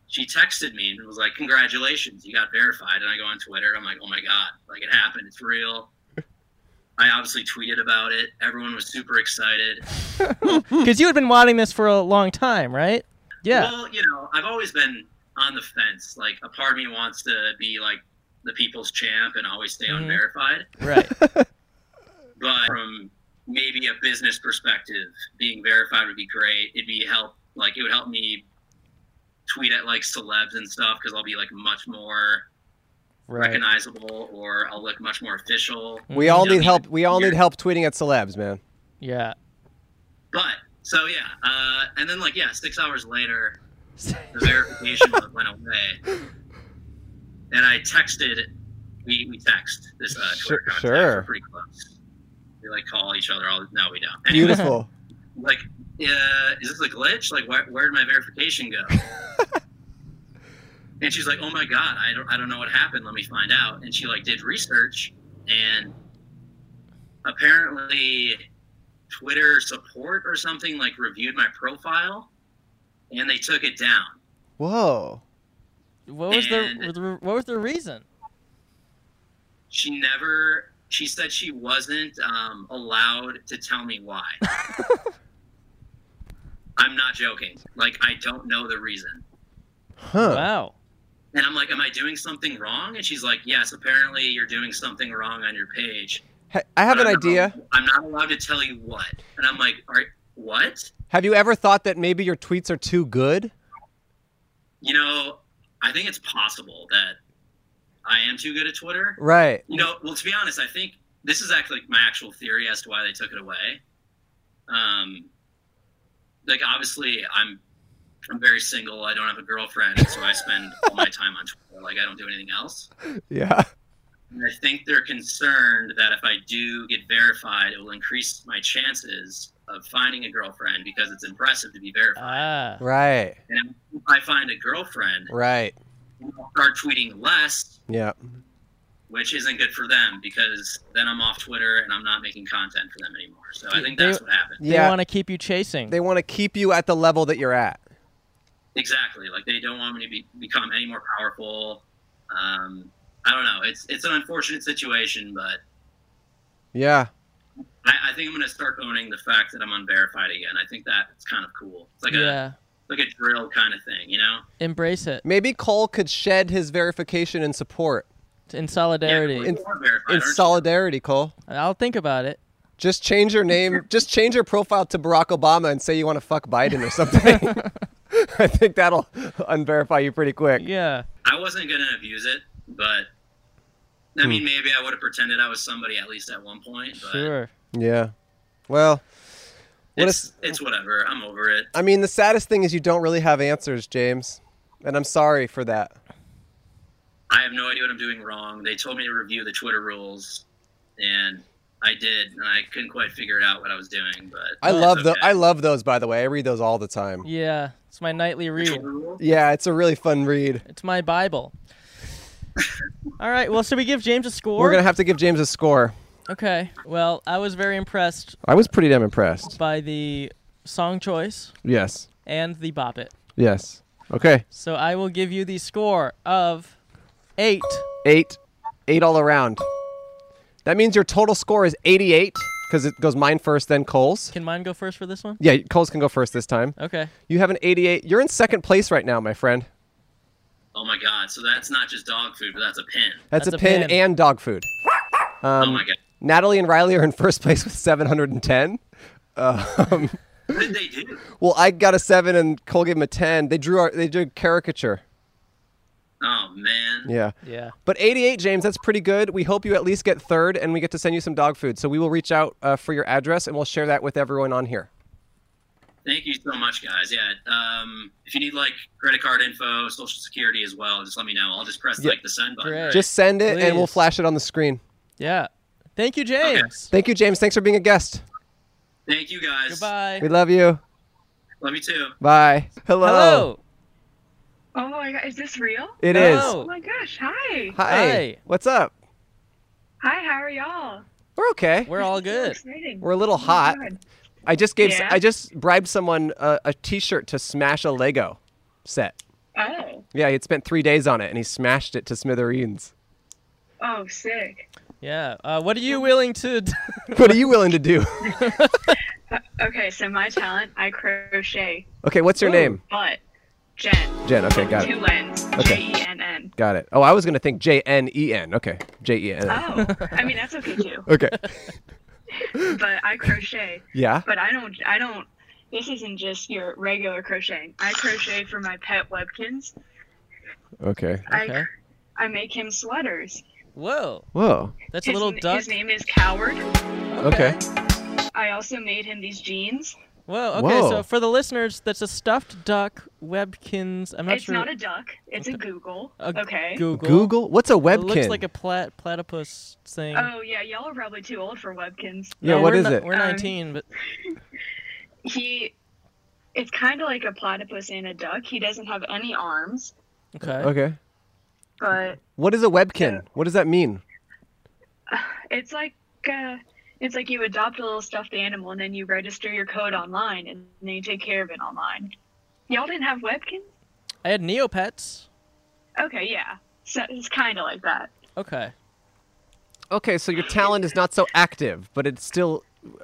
Speaker 10: she texted me and was like, "Congratulations, you got verified." And I go on Twitter. I'm like, "Oh my god! Like it happened. It's real." I obviously tweeted about it. Everyone was super excited.
Speaker 1: Because you had been wanting this for a long time, right? Yeah.
Speaker 10: Well, you know, I've always been on the fence. Like a part of me wants to be like the people's champ and always stay
Speaker 1: Mhm.
Speaker 2: Mm-hmm.
Speaker 10: unverified.
Speaker 1: Right.
Speaker 10: but from maybe a business perspective, being verified would be great. It'd be help like it would help me tweet at like celebs and stuff because I'll be like much more
Speaker 1: Right.
Speaker 10: recognizable or I'll look much more official.
Speaker 2: We all
Speaker 10: Yeah.
Speaker 2: need help. We all need help tweeting at celebs, man.
Speaker 1: Yeah.
Speaker 10: But so yeah, uh, and then like yeah, six hours later, the verification went away, and I texted. We, we text this uh, Twitter
Speaker 2: Sure-
Speaker 10: contact.
Speaker 2: sure.
Speaker 10: We're pretty close. We like call each other all. No, we don't. Anyway,
Speaker 2: Beautiful.
Speaker 10: like, uh, is this a glitch? Like, where where did my verification go? and she's like, oh my god, I don't I don't know what happened. Let me find out. And she like did research, and apparently, Twitter support or something like reviewed my profile, and they took it down.
Speaker 2: Whoa.
Speaker 1: What was
Speaker 10: And-
Speaker 1: the what was the reason?
Speaker 10: She never. She said she wasn't um, allowed to tell me why. I'm not joking. Like I don't know the reason.
Speaker 2: Huh.
Speaker 1: Wow.
Speaker 10: And I'm like, am I doing something wrong? And she's like, yes. Apparently, you're doing something wrong on your page.
Speaker 2: Ha- I have an
Speaker 10: But I'm
Speaker 2: idea.
Speaker 10: not- I'm not allowed to tell you what. And I'm like, are what?
Speaker 2: Have you ever thought that maybe your tweets are too good?
Speaker 10: You know, I think it's possible that I am too good at Twitter.
Speaker 2: Right.
Speaker 10: You know, well, to be honest, I think this is actually my actual theory as to why they took it away. Um, like obviously, I'm I'm very single. I don't have a girlfriend, so I spend all my time on Twitter. Like I don't do anything else.
Speaker 2: Yeah.
Speaker 10: And I think they're concerned that if I do get verified, it will increase my chances of finding a girlfriend because it's impressive to be verified.
Speaker 1: Ah.
Speaker 2: Right.
Speaker 10: And if I find a girlfriend,
Speaker 2: Right.
Speaker 10: I'll start tweeting less,
Speaker 2: Yeah.
Speaker 10: which isn't good for them because then I'm off Twitter and I'm not making content for them anymore. So I think
Speaker 1: They-
Speaker 10: that's what happened.
Speaker 1: They
Speaker 2: Yeah.
Speaker 1: want to keep you chasing.
Speaker 2: They want to keep you at the level that you're at.
Speaker 10: Exactly. Like they don't want me to be, become any more powerful. Um, I don't know. It's it's an unfortunate situation, but
Speaker 2: Yeah.
Speaker 10: I, I think I'm gonna start owning the fact that I'm unverified again. I think that's kind of cool. It's like a
Speaker 1: yeah.
Speaker 10: like a drill kind of thing, you know?
Speaker 1: Embrace it
Speaker 2: Maybe Cole could shed his verification and support
Speaker 1: in solidarity.
Speaker 10: Yeah,
Speaker 2: In-
Speaker 10: you are verified,
Speaker 2: in
Speaker 10: aren't you?
Speaker 2: solidarity, Cole.
Speaker 1: I'll think about it.
Speaker 2: Just change your name. Just change your profile to Barack Obama and say you want to fuck Biden or something. I think that'll unverify you pretty quick.
Speaker 1: Yeah.
Speaker 10: I wasn't gonna abuse it, but I
Speaker 2: Hmm.
Speaker 10: mean, maybe I would have pretended I was somebody at least at one point. But
Speaker 1: Sure.
Speaker 2: Yeah. Well, what
Speaker 10: it's,
Speaker 2: is-
Speaker 10: it's whatever. I'm over it.
Speaker 2: I mean, the saddest thing is you don't really have answers, James. And I'm sorry for that.
Speaker 10: I have no idea what I'm doing wrong. They told me to review the Twitter rules, and I did, and I couldn't quite figure it out what I was doing. But
Speaker 2: I
Speaker 10: it's
Speaker 2: love the
Speaker 10: okay.
Speaker 2: I love those by the way. I read those all the time.
Speaker 1: Yeah. It's my nightly
Speaker 10: The
Speaker 1: read.
Speaker 10: Twitter rules?
Speaker 2: Yeah, it's a really fun read.
Speaker 1: It's my Bible. All right. Well, should we give James a score?
Speaker 2: We're gonna have to give James a score.
Speaker 1: Okay. Well, I was very impressed
Speaker 2: I was pretty damn impressed.
Speaker 1: by the song choice
Speaker 2: Yes.
Speaker 1: and the bop it.
Speaker 2: Yes. Okay.
Speaker 1: So I will give you the score of eight.
Speaker 2: Eight. Eight all around. That means your total score is eighty-eight, because it goes mine first, then Cole's.
Speaker 1: Can mine go first for this one?
Speaker 2: Yeah, Cole's can go first this time.
Speaker 1: Okay.
Speaker 2: You have an eighty-eight. You're in second place right now, my friend.
Speaker 10: Oh my god! So that's not just dog food, but that's a pin.
Speaker 2: That's,
Speaker 1: That's
Speaker 2: a,
Speaker 1: a
Speaker 2: pin,
Speaker 1: pin.
Speaker 2: and dog food. Um,
Speaker 10: oh my god!
Speaker 2: Natalie and Riley are in first place with seven hundred and ten. Um,
Speaker 10: What did they do?
Speaker 2: Well, I got a seven and Cole gave him a ten. They drew our, they drew caricature.
Speaker 10: Oh man!
Speaker 2: Yeah.
Speaker 1: Yeah.
Speaker 2: But 88, James, that's pretty good. We hope you at least get third, and we get to send you some dog food. So we will reach out uh, for your address, and we'll share that with everyone on here.
Speaker 10: Thank you so much, guys. Yeah. Um, if you need like credit card info, social security as well, just let me know. I'll just press
Speaker 2: Yeah.
Speaker 10: like the send button.
Speaker 1: Great.
Speaker 10: right?
Speaker 2: Just send it, and we'll
Speaker 1: Please.
Speaker 2: flash it on the screen.
Speaker 1: Yeah. Thank you, James.
Speaker 2: Thank you, James. Thanks for being a guest.
Speaker 10: Thank you, guys.
Speaker 1: Goodbye.
Speaker 2: We love you.
Speaker 10: Love you too.
Speaker 2: Bye. Hello.
Speaker 1: Hello.
Speaker 11: Oh my god, is this real?
Speaker 2: It is.
Speaker 1: Hello.
Speaker 11: Oh my gosh, hi.
Speaker 2: Hi.
Speaker 1: Hi.
Speaker 2: What's up?
Speaker 11: Hi, how are y'all?
Speaker 2: We're okay.
Speaker 1: We're all
Speaker 11: This is so
Speaker 1: good.
Speaker 11: exciting.
Speaker 2: We're a little
Speaker 11: Oh my
Speaker 2: hot.
Speaker 11: God.
Speaker 2: I just gave.
Speaker 11: Yeah.
Speaker 2: I just bribed someone a, a T-shirt to smash a Lego set.
Speaker 11: Oh,
Speaker 2: Yeah, he had spent three days on it, and he smashed it to smithereens.
Speaker 11: oh, sick.
Speaker 1: Yeah. Uh, what are you willing to? d-
Speaker 2: what are you willing to do?
Speaker 11: Uh, Okay, so my talent, I crochet,
Speaker 2: okay, what's your
Speaker 1: Ooh.
Speaker 2: name?
Speaker 11: but Jen.
Speaker 2: Jen. Okay, got it.
Speaker 11: Two N's.
Speaker 2: Okay.
Speaker 11: J E N N.
Speaker 2: Got it. Oh, I was gonna think J N E N. Okay, J E N. N.
Speaker 11: Oh, I mean that's okay too.
Speaker 2: Okay.
Speaker 11: But I crochet,
Speaker 2: Yeah.
Speaker 11: but I don't. I don't. This isn't just your regular crocheting. I crochet for my pet Webkins.
Speaker 2: Okay.
Speaker 1: Okay.
Speaker 11: I I make him sweaters.
Speaker 1: Whoa.
Speaker 2: Whoa.
Speaker 1: That's a
Speaker 11: his,
Speaker 1: little
Speaker 11: n-
Speaker 1: duck.
Speaker 11: His name is Coward.
Speaker 2: Okay.
Speaker 11: I also made him these jeans.
Speaker 1: Whoa. Okay.
Speaker 2: Whoa.
Speaker 1: So for the listeners, that's a stuffed duck. Webkins. I'm not
Speaker 9: it's
Speaker 1: sure.
Speaker 9: not a duck. It's a Google.
Speaker 1: A
Speaker 9: okay.
Speaker 1: Google.
Speaker 2: Google? What's a
Speaker 1: It
Speaker 2: webkin?
Speaker 1: looks like a plat- platypus thing.
Speaker 9: Oh yeah, y'all are probably too old for Webkins.
Speaker 2: yeah,
Speaker 1: No,
Speaker 2: what
Speaker 1: we're
Speaker 2: is
Speaker 1: ni-
Speaker 2: it?
Speaker 1: We're
Speaker 9: Um,
Speaker 1: 19, but
Speaker 9: He, it's kind of like a platypus and a duck. He doesn't have any arms,
Speaker 1: okay.
Speaker 2: Okay.
Speaker 9: but
Speaker 2: What is a webkin? What does that mean?
Speaker 9: it's like uh, it's like you adopt a little stuffed animal and then you register your code online and then you take care of it online. Y'all didn't have Webkins?
Speaker 1: I had Neopets.
Speaker 9: Okay, yeah. So it's kind of like that.
Speaker 1: Okay.
Speaker 2: Okay, so your talent is not so active, but it's still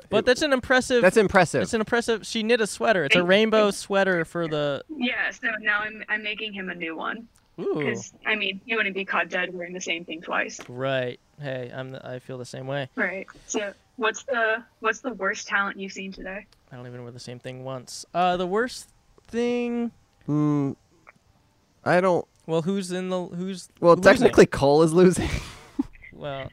Speaker 1: But that's an impressive.
Speaker 2: that's impressive.
Speaker 1: It's an impressive. She knit a sweater. It's a
Speaker 9: Thank-
Speaker 1: rainbow sweater for the.
Speaker 9: Yeah. So now I'm I'm making him a new one
Speaker 1: Ooh.
Speaker 9: because I mean you wouldn't be caught dead wearing the same thing twice,
Speaker 1: Right. Hey, I'm. The, I feel the same way.
Speaker 9: right? So what's the what's the worst talent you've seen today?
Speaker 1: I don't even wear the same thing once. Uh, the worst thing.
Speaker 2: Hmm. I don't.
Speaker 1: Well, who's in the who's?
Speaker 2: Well,
Speaker 1: losing?
Speaker 2: technically, Cole is losing.
Speaker 1: Well,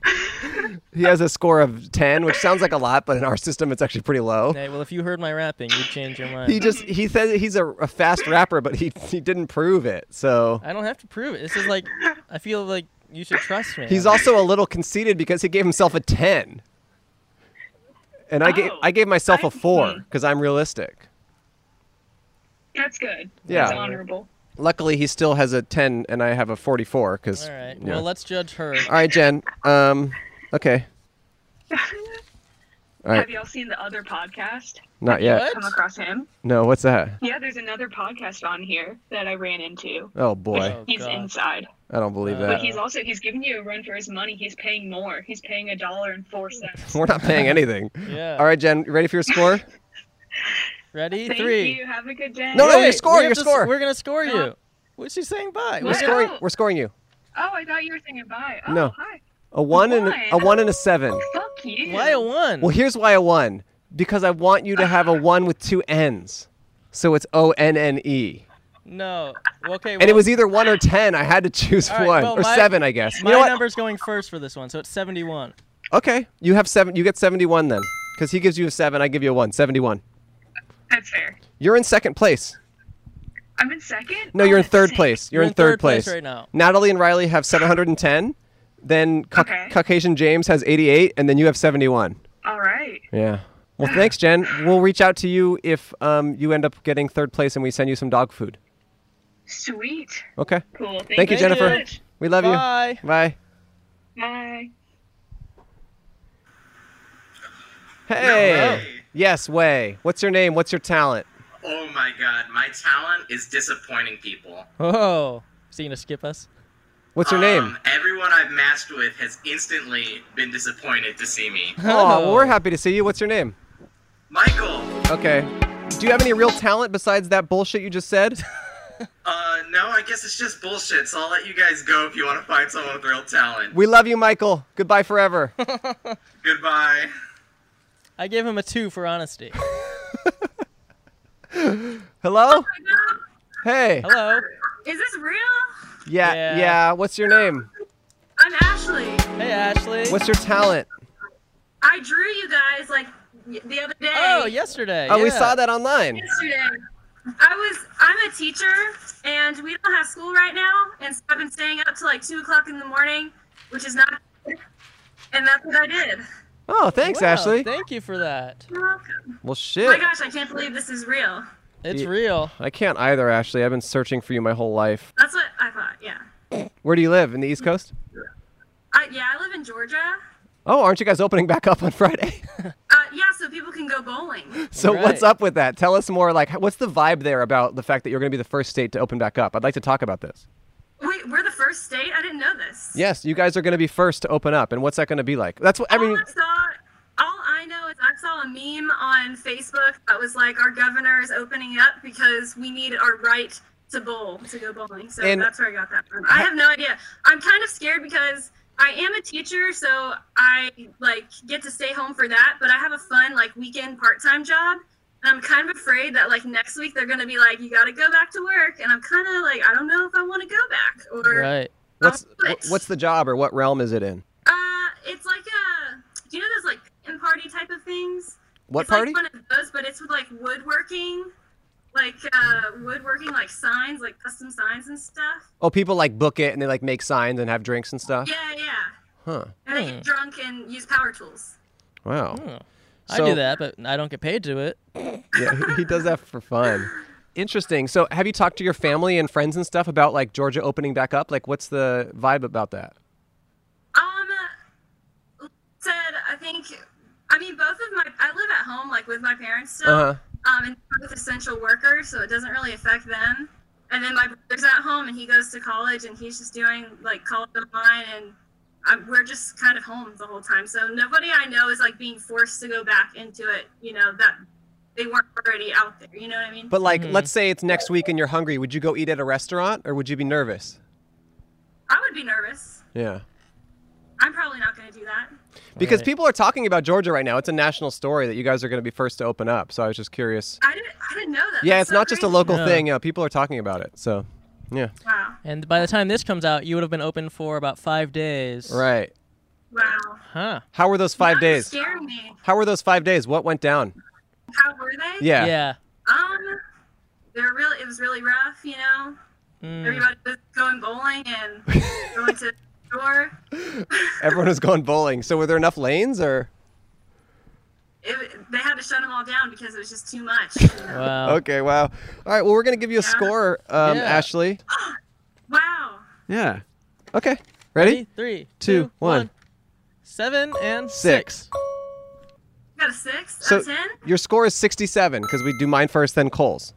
Speaker 2: he has a score of ten, which sounds like a lot, but in our system, it's actually pretty low.
Speaker 1: hey, well, if you heard my rapping, you'd change your mind.
Speaker 2: He just he said he's a, a fast rapper, but he he didn't prove it. So
Speaker 1: I don't have to prove it. This is like. I feel like you should trust me.
Speaker 2: he's also a little conceited because he gave himself a ten, and I gave
Speaker 9: Oh,
Speaker 2: I gave myself a
Speaker 9: I
Speaker 2: four
Speaker 9: see.
Speaker 2: because I'm realistic.
Speaker 9: That's good.
Speaker 2: Yeah.
Speaker 9: That's honorable.
Speaker 2: Luckily, he still has a ten, and I have a forty-four. Because
Speaker 1: All right.
Speaker 2: yeah.
Speaker 1: Well, let's judge her.
Speaker 2: all right, Jen. Um, okay, All right.
Speaker 9: Have y'all seen the other podcast?
Speaker 2: not yet.
Speaker 1: What?
Speaker 9: Come across him?
Speaker 2: No, what's that?
Speaker 9: Yeah, there's another podcast on here that I ran into.
Speaker 2: Oh boy,
Speaker 1: Oh,
Speaker 9: he's
Speaker 1: God.
Speaker 9: inside,
Speaker 2: I don't believe
Speaker 1: Uh,
Speaker 9: but
Speaker 2: that.
Speaker 9: he's also he's giving you a run for his money. He's paying more. He's paying a dollar and four cents.
Speaker 2: We're not paying anything.
Speaker 1: Yeah.
Speaker 2: All right, Jen, you ready for your score?
Speaker 1: Ready?
Speaker 9: Thank
Speaker 1: Three.
Speaker 9: you. Have a good day.
Speaker 2: No, no,
Speaker 1: Wait,
Speaker 2: your score,
Speaker 1: we
Speaker 2: your
Speaker 1: have to s-
Speaker 2: score.
Speaker 1: We're gonna score
Speaker 9: No.
Speaker 1: you. What's she saying? Bye.
Speaker 2: We're
Speaker 9: What?
Speaker 2: scoring.
Speaker 9: No.
Speaker 2: We're scoring you.
Speaker 9: Oh, I thought you were saying bye. Oh,
Speaker 2: No.
Speaker 9: hi.
Speaker 2: A one and a, a
Speaker 9: One.
Speaker 2: one and a seven.
Speaker 9: Fuck you.
Speaker 1: Why a one?
Speaker 2: Well, here's why a one. Because I want you to have a one with two N's, so it's O N N E.
Speaker 1: No. Okay.
Speaker 2: And it was either one or ten. I had to choose
Speaker 1: All right,
Speaker 2: one
Speaker 1: well,
Speaker 2: or
Speaker 1: my-
Speaker 2: seven, I guess. You
Speaker 1: my
Speaker 2: know what?
Speaker 1: number's going first for this one, so it's 71.
Speaker 2: Okay, you have seven. You get seventy-one then, because he gives you a seven. I give you a one. Seventy-one.
Speaker 9: That's fair.
Speaker 2: You're in second place.
Speaker 9: I'm in second.
Speaker 2: No,
Speaker 9: Oh,
Speaker 2: you're in
Speaker 9: that's
Speaker 2: third
Speaker 9: sick.
Speaker 2: place. You're, in third, place.
Speaker 1: right now.
Speaker 2: Natalie and Riley have 710. Then Cau-
Speaker 9: Okay.
Speaker 2: Caucasian James has 88, and then you have 71.
Speaker 9: All right.
Speaker 2: Yeah. Well, thanks, Jen. We'll reach out to you if um, you end up getting third place, and we send you some dog food.
Speaker 9: Sweet.
Speaker 2: Okay.
Speaker 9: Cool. Thank,
Speaker 2: Thank you,
Speaker 9: so
Speaker 2: Jennifer.
Speaker 9: much.
Speaker 2: We love
Speaker 1: Bye.
Speaker 2: you. Bye.
Speaker 9: Bye.
Speaker 2: Hey.
Speaker 12: way.
Speaker 2: Yes, way. What's your name? What's your talent?
Speaker 12: Oh my god, my talent is disappointing people.
Speaker 1: Oh. Is he gonna skip us?
Speaker 2: What's your name?
Speaker 12: Um, Everyone I've matched with has instantly been disappointed to see me.
Speaker 2: Oh, well, we're happy to see you. What's your name?
Speaker 12: Michael,
Speaker 2: Okay. Do you have any real talent besides that bullshit you just said?
Speaker 12: uh, no, I guess it's just bullshit, so I'll let you guys go if you want to find someone with real talent.
Speaker 2: We love you, Michael. Goodbye forever.
Speaker 12: Goodbye.
Speaker 1: I gave him a two for honesty.
Speaker 2: Hello? Hey.
Speaker 1: Hello.
Speaker 11: Is this real?
Speaker 2: Yeah, yeah,
Speaker 1: Yeah.
Speaker 2: What's your name?
Speaker 11: I'm Ashley.
Speaker 1: Hey, Ashley.
Speaker 2: What's your talent?
Speaker 11: I drew you guys like y- the other day.
Speaker 1: oh, yesterday.
Speaker 2: Oh, we
Speaker 1: yeah.
Speaker 2: saw that online.
Speaker 11: Yesterday. I was. I'm a teacher, and we don't have school right now, and so I've been staying up till like two o'clock in the morning, which is not. And that's what I did.
Speaker 2: Oh, thanks,
Speaker 1: Wow,
Speaker 2: Ashley.
Speaker 1: Thank you for that.
Speaker 11: You're welcome.
Speaker 2: well,
Speaker 11: Oh my
Speaker 2: shit.
Speaker 11: gosh, I can't believe this is real.
Speaker 1: It's
Speaker 2: Yeah.
Speaker 1: real.
Speaker 2: I can't either, Ashley. I've been searching for you my whole life.
Speaker 11: That's what I thought. Yeah.
Speaker 2: Where do you live? In the East Coast?
Speaker 11: I, yeah, I live in Georgia.
Speaker 2: Oh, aren't you guys opening back up on Friday?
Speaker 11: Uh, yeah, so people can go bowling.
Speaker 2: so
Speaker 1: Right.
Speaker 2: what's up with that? Tell us more. Like, h- what's the vibe there about the fact that you're going to be the first state to open back up? I'd like to talk about this.
Speaker 11: Wait, we're the first state? I didn't know this.
Speaker 2: Yes, you guys are going to be first to open up, and what's that going to be like? That's what I mean.
Speaker 11: all I saw, all I know is I saw a meme on Facebook that was like, "Our governor is opening up because we need our right to bowl to go bowling." So
Speaker 2: And-
Speaker 11: that's where I got that from. I have no idea. I'm kind of scared because I am a teacher, so I like get to stay home for that. But I have a fun like weekend part-time job. And I'm kind of afraid that like next week they're gonna be like, "You got to go back to work," and I'm kind of like, I don't know if I want to go back or.
Speaker 1: Right.
Speaker 2: What's
Speaker 11: I'll do it.
Speaker 2: wh- what's the job or what realm is it in?
Speaker 11: Uh, it's like a. Do you know those like garden party type of things?
Speaker 2: What
Speaker 11: it's
Speaker 2: party?
Speaker 11: like one of those, but it's with like woodworking, like uh, woodworking, like signs, like custom signs and stuff.
Speaker 2: oh, people like book it and they like make signs and have drinks and stuff.
Speaker 11: Yeah, yeah.
Speaker 2: Huh.
Speaker 11: And they get drunk and use power tools.
Speaker 2: Wow.
Speaker 1: Hmm. I
Speaker 2: So-
Speaker 1: do that, but I don't get paid to it.
Speaker 2: yeah, he does that for fun. Interesting. So, have you talked to your family and friends and stuff about like Georgia opening back up? Like, what's the vibe about that?
Speaker 11: Um, said I think, I mean, both of my I live at home like with my parents still,
Speaker 2: Uh-huh.
Speaker 11: um, and they're both essential workers, so it doesn't really affect them. And then my brother's at home and he goes to college and he's just doing like college online and. i we're just kind of home the whole time, so nobody I know is like being forced to go back into it. You know that they weren't already out there. You know what I mean?
Speaker 2: But like,
Speaker 1: Mhm.
Speaker 2: let's say it's next week and you're hungry. Would you go eat at a restaurant or would you be nervous?
Speaker 11: I would be nervous.
Speaker 2: Yeah.
Speaker 11: I'm probably not going to do that.
Speaker 2: Because
Speaker 1: Right.
Speaker 2: people are talking about Georgia right now. It's a national story that you guys are going to be first to open up. So I was just curious.
Speaker 11: I didn't. I didn't know that.
Speaker 2: Yeah, it's
Speaker 11: That's so
Speaker 2: not just a
Speaker 11: crazy.
Speaker 2: local
Speaker 1: Yeah.
Speaker 2: thing. Yeah, people are talking about it. So, yeah.
Speaker 11: Wow.
Speaker 1: And by the time this comes out, you would have been open for about five days.
Speaker 2: Right.
Speaker 11: Wow.
Speaker 1: Huh.
Speaker 2: How were those five
Speaker 11: Now you're
Speaker 2: days?
Speaker 11: scaring me.
Speaker 2: How were those five days? What went down?
Speaker 11: How were they?
Speaker 2: Yeah.
Speaker 11: Um, they're really. It was really rough. You know,
Speaker 1: Mm.
Speaker 11: everybody was going bowling and going to the store.
Speaker 2: Everyone was going bowling. So were there enough lanes or?
Speaker 11: It, they had to shut them all down because it was just too much.
Speaker 1: Wow.
Speaker 2: Okay. Wow. All right. Well, we're going to give you a
Speaker 11: Yeah.
Speaker 2: score, um,
Speaker 1: Yeah.
Speaker 2: Ashley.
Speaker 11: Oh, wow.
Speaker 2: Yeah. Okay. Ready?
Speaker 1: Three,
Speaker 2: Two,
Speaker 1: two,
Speaker 2: one.
Speaker 1: one. Seven and
Speaker 2: Six.
Speaker 11: You got a six
Speaker 2: So-
Speaker 11: out of ten.
Speaker 2: Your score is 67 because we do mine first, then Cole's.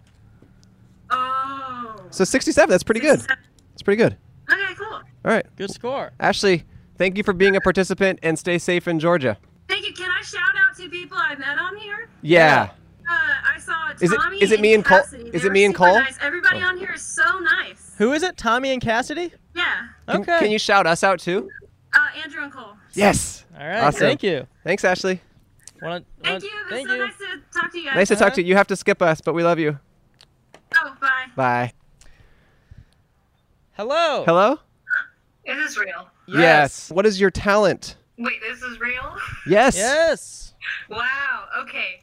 Speaker 11: Oh.
Speaker 2: So 67. That's pretty good.
Speaker 11: 67.
Speaker 2: That's pretty good.
Speaker 11: Okay. Cool.
Speaker 2: All right.
Speaker 1: Good score.
Speaker 2: Ashley, thank you for being a participant and stay safe in Georgia.
Speaker 11: Thank you. Can I shout out two people I met on here?
Speaker 2: Yeah.
Speaker 11: Uh, I saw
Speaker 2: Is it-
Speaker 11: Tommy
Speaker 2: is it me and Cole-
Speaker 11: Cassidy.
Speaker 2: is
Speaker 11: They
Speaker 2: it
Speaker 11: were
Speaker 2: me and
Speaker 11: super
Speaker 2: Cole? Oh.
Speaker 11: Nice. Everybody on here is so nice.
Speaker 1: Who is it? Tommy and Cassidy?
Speaker 11: Yeah.
Speaker 2: Can,
Speaker 1: Okay.
Speaker 2: can you shout us out too?
Speaker 11: Uh, Andrew and Cole.
Speaker 2: Yes.
Speaker 1: All right.
Speaker 2: Awesome.
Speaker 1: Thank you.
Speaker 2: Thanks, Ashley.
Speaker 1: Wanna,
Speaker 11: Thank
Speaker 1: wanna-
Speaker 11: you. It was
Speaker 1: Thank
Speaker 11: so
Speaker 1: you.
Speaker 11: nice to talk to you guys.
Speaker 2: Nice to talk to you. You have to skip us, but we love you.
Speaker 11: Oh, bye.
Speaker 2: Bye.
Speaker 1: Hello.
Speaker 2: Hello?
Speaker 13: Is this real?
Speaker 1: Yes.
Speaker 2: What is your talent?
Speaker 13: Wait, this is real?
Speaker 2: Yes.
Speaker 1: Yes.
Speaker 13: Wow. Okay.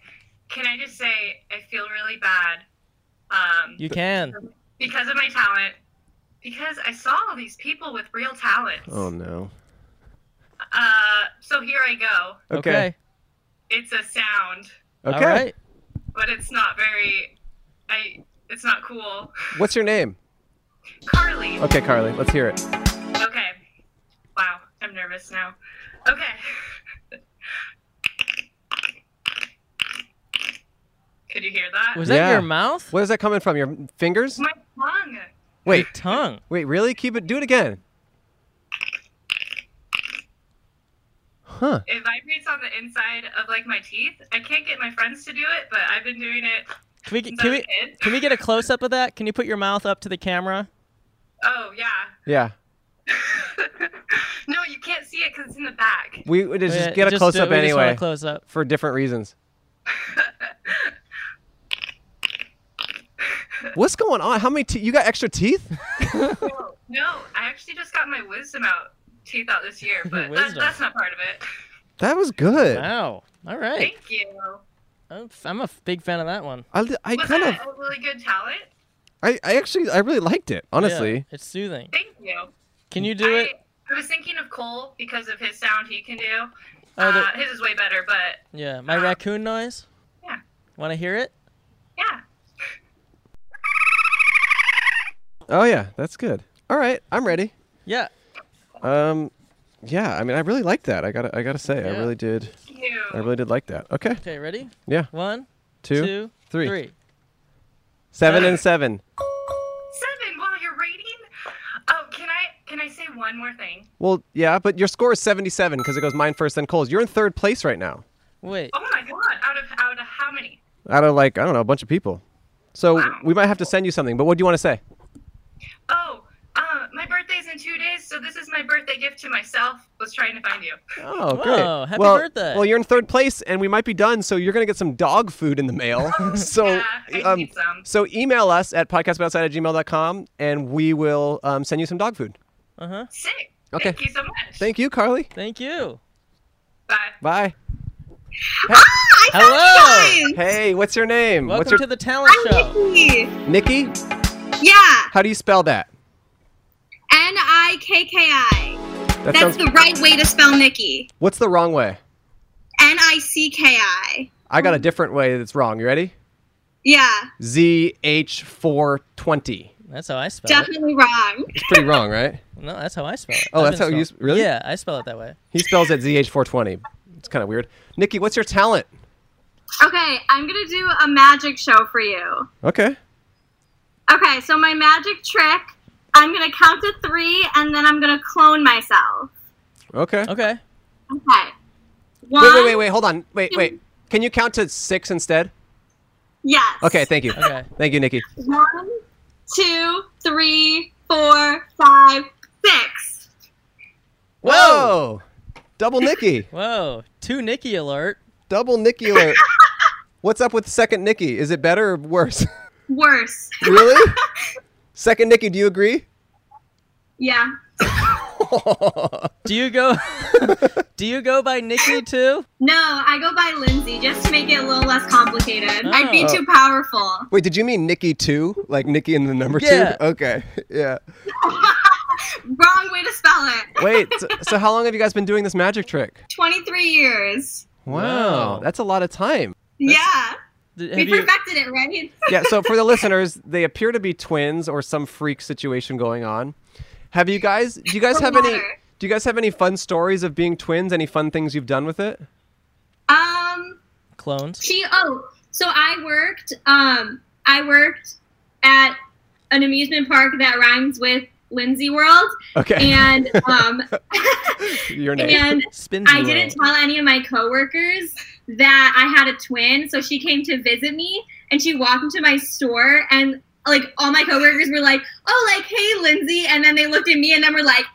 Speaker 13: Can I just say I feel really bad um,
Speaker 1: You can.
Speaker 13: because of my talent? Because I saw all these people with real talents.
Speaker 2: Oh no.
Speaker 13: Uh, so here I go.
Speaker 2: Okay.
Speaker 13: It's a sound,
Speaker 2: Okay.
Speaker 1: All right.
Speaker 13: but it's not very. I. It's not cool.
Speaker 2: What's your name?
Speaker 13: Carly.
Speaker 2: Okay, Carly. Let's hear it.
Speaker 13: Okay. Wow, I'm nervous now. Okay. Could you hear that?
Speaker 1: Was
Speaker 2: Yeah.
Speaker 1: that your mouth?
Speaker 2: Where's that coming from? Your fingers?
Speaker 13: My tongue.
Speaker 2: Wait.
Speaker 1: Your tongue.
Speaker 2: Wait, really? Keep it do it again. Huh.
Speaker 13: It vibrates on the inside of like my teeth. I can't get my friends to do it, but I've been doing it
Speaker 1: Can we
Speaker 13: since
Speaker 1: can
Speaker 13: I was
Speaker 1: we
Speaker 13: a kid.
Speaker 1: can we get a close up of that? Can you put your mouth up to the camera?
Speaker 13: Oh yeah.
Speaker 2: Yeah.
Speaker 13: no, you can't see it because it's in the back.
Speaker 2: We would just
Speaker 1: Yeah,
Speaker 2: get a close
Speaker 1: do-
Speaker 2: up
Speaker 1: we Uh, just want a
Speaker 2: anyway
Speaker 1: Close up.
Speaker 2: for different reasons. What's going on? How many teeth? You got extra teeth?
Speaker 13: Whoa. No, I actually just got my wisdom out teeth out this year, but that,
Speaker 1: Wisdom.
Speaker 13: that's not part of it.
Speaker 2: That was good.
Speaker 1: Wow. All right. Oh.
Speaker 13: Thank you.
Speaker 1: I'm f- I'm a f- big fan of that one.
Speaker 2: I, I
Speaker 13: Was
Speaker 2: kind of,
Speaker 13: that a really good talent?
Speaker 2: I, I actually, I really liked it,
Speaker 1: Yeah,
Speaker 2: honestly.
Speaker 1: it's soothing.
Speaker 13: Thank you.
Speaker 1: Can you do
Speaker 13: I,
Speaker 1: it?
Speaker 13: I was thinking of Cole because of his sound he can do.
Speaker 1: Oh,
Speaker 13: uh,
Speaker 1: the-
Speaker 13: his is way better, but
Speaker 1: Yeah. My
Speaker 13: uh,
Speaker 1: raccoon noise.
Speaker 13: yeah.
Speaker 1: Want to hear it?
Speaker 13: yeah.
Speaker 2: Oh yeah, that's good. All right, I'm ready.
Speaker 1: Yeah.
Speaker 2: Um, yeah, I mean, I really liked that. I gotta, I gotta say, I
Speaker 1: Yeah.
Speaker 2: really did,
Speaker 13: You.
Speaker 2: I really did like that. Okay,
Speaker 1: Okay. Ready?
Speaker 2: Yeah.
Speaker 1: One,
Speaker 2: two, seven
Speaker 1: two,
Speaker 2: three.
Speaker 1: three.
Speaker 2: and seven.
Speaker 13: Seven while you're rating? Oh, can I can I say one more thing?
Speaker 2: Well, yeah, but your score is 77 because it goes mine first, then Cole's. You're in third place right now,
Speaker 1: Wait.
Speaker 13: Oh my god, out of out of how many?
Speaker 2: out of like I don't know, a bunch of people. So we might have to send you something. But what do you want to say?
Speaker 13: Oh, uh, my birthday's in two days, so this is my birthday gift to myself. Was trying to find you.
Speaker 2: Oh,
Speaker 1: Whoa,
Speaker 2: great!
Speaker 1: happy
Speaker 2: well,
Speaker 1: birthday.
Speaker 2: Well, you're in third place, and we might be done, so you're gonna get some dog food in the mail. so,
Speaker 13: yeah, I
Speaker 2: um,
Speaker 13: need some.
Speaker 2: so email us at podcastoutside at gmail.com, and we will um, send you some dog food.
Speaker 1: Uh huh.
Speaker 13: Sick.
Speaker 2: Okay.
Speaker 13: Thank you so much.
Speaker 2: Thank you, Carly.
Speaker 1: Thank you.
Speaker 13: Bye. Ah,
Speaker 2: Bye.
Speaker 1: Hello.
Speaker 2: Hey, what's your name?
Speaker 1: Welcome
Speaker 2: what's your
Speaker 1: to the talent show.
Speaker 14: Nikki.
Speaker 2: Nikki?
Speaker 14: Yeah,
Speaker 13: Ah.
Speaker 2: How do you spell that?
Speaker 14: N I K K I.
Speaker 2: That
Speaker 14: That's
Speaker 2: sounds.
Speaker 14: the right way to spell Nikki.
Speaker 2: What's the wrong way?
Speaker 14: N I C K I.
Speaker 2: I got a different way that's wrong. You ready?
Speaker 14: Yeah,
Speaker 2: Z H four twenty.
Speaker 1: That's how I spell it.
Speaker 14: definitely wrong.
Speaker 2: It's pretty wrong, right?
Speaker 1: No, that's how I spell it.
Speaker 2: Oh,
Speaker 1: I've
Speaker 2: that's
Speaker 1: been
Speaker 2: how you
Speaker 1: spell-
Speaker 2: s- really?
Speaker 1: Yeah, I spell it that way.
Speaker 2: He spells it Z H four twenty. It's kind of weird. Nikki, what's your talent?
Speaker 14: Okay, I'm gonna do a magic show for you.
Speaker 2: Okay.
Speaker 14: Okay, so my magic trick, I'm gonna count to three and then I'm gonna clone myself.
Speaker 2: Okay.
Speaker 1: Okay.
Speaker 14: Okay. One.
Speaker 2: Wait, wait, wait, wait. Hold on. Wait, wait. Can you count to six instead?
Speaker 14: Yes.
Speaker 2: Okay. Thank you.
Speaker 1: Okay.
Speaker 2: Thank you, Nikki.
Speaker 14: One, two, three, four, five, six.
Speaker 2: Whoa! Double Nikki.
Speaker 1: Whoa. Two Nikki alert.
Speaker 2: Double Nikki alert. What's up with second Nikki? Is it better or worse?
Speaker 14: Worse.
Speaker 2: really? Second Nikki, do you agree?
Speaker 14: Yeah.
Speaker 1: Do you go? do you go by Nikki too?
Speaker 14: No, I go by Lindsay just to make it a little less complicated. I'd be
Speaker 1: Oh.
Speaker 14: too powerful.
Speaker 2: Wait, did you mean Nikki two? Like Nikki in the number
Speaker 1: Yeah.
Speaker 2: two? Okay. Yeah.
Speaker 14: Wrong way to spell it.
Speaker 2: Wait, so, so how long have you guys been doing this magic trick?
Speaker 14: 23 years.
Speaker 1: Wow.
Speaker 2: That's a lot of time.
Speaker 14: yeah.
Speaker 1: Did-
Speaker 14: We
Speaker 1: have you-
Speaker 14: perfected it, right?
Speaker 2: yeah, so for the listeners, they appear to be twins or some freak situation going on. Have you guys do you guys
Speaker 14: Or
Speaker 2: have any
Speaker 14: water.
Speaker 2: do you guys have any fun stories of being twins? Any fun things you've done with it?
Speaker 14: Um,
Speaker 1: clones?
Speaker 14: she, oh, so I worked, um, I worked at an amusement park that rhymes with Lindsay World.
Speaker 2: Okay.
Speaker 14: And, um,
Speaker 2: Your name.
Speaker 14: and
Speaker 1: Spins
Speaker 14: I
Speaker 1: you
Speaker 14: didn't tell any of my coworkers that I had a twin, so she came to visit me and she walked into my store and like all my coworkers were like, "Oh, like hey, Lindsay," and then they looked at me and then were like,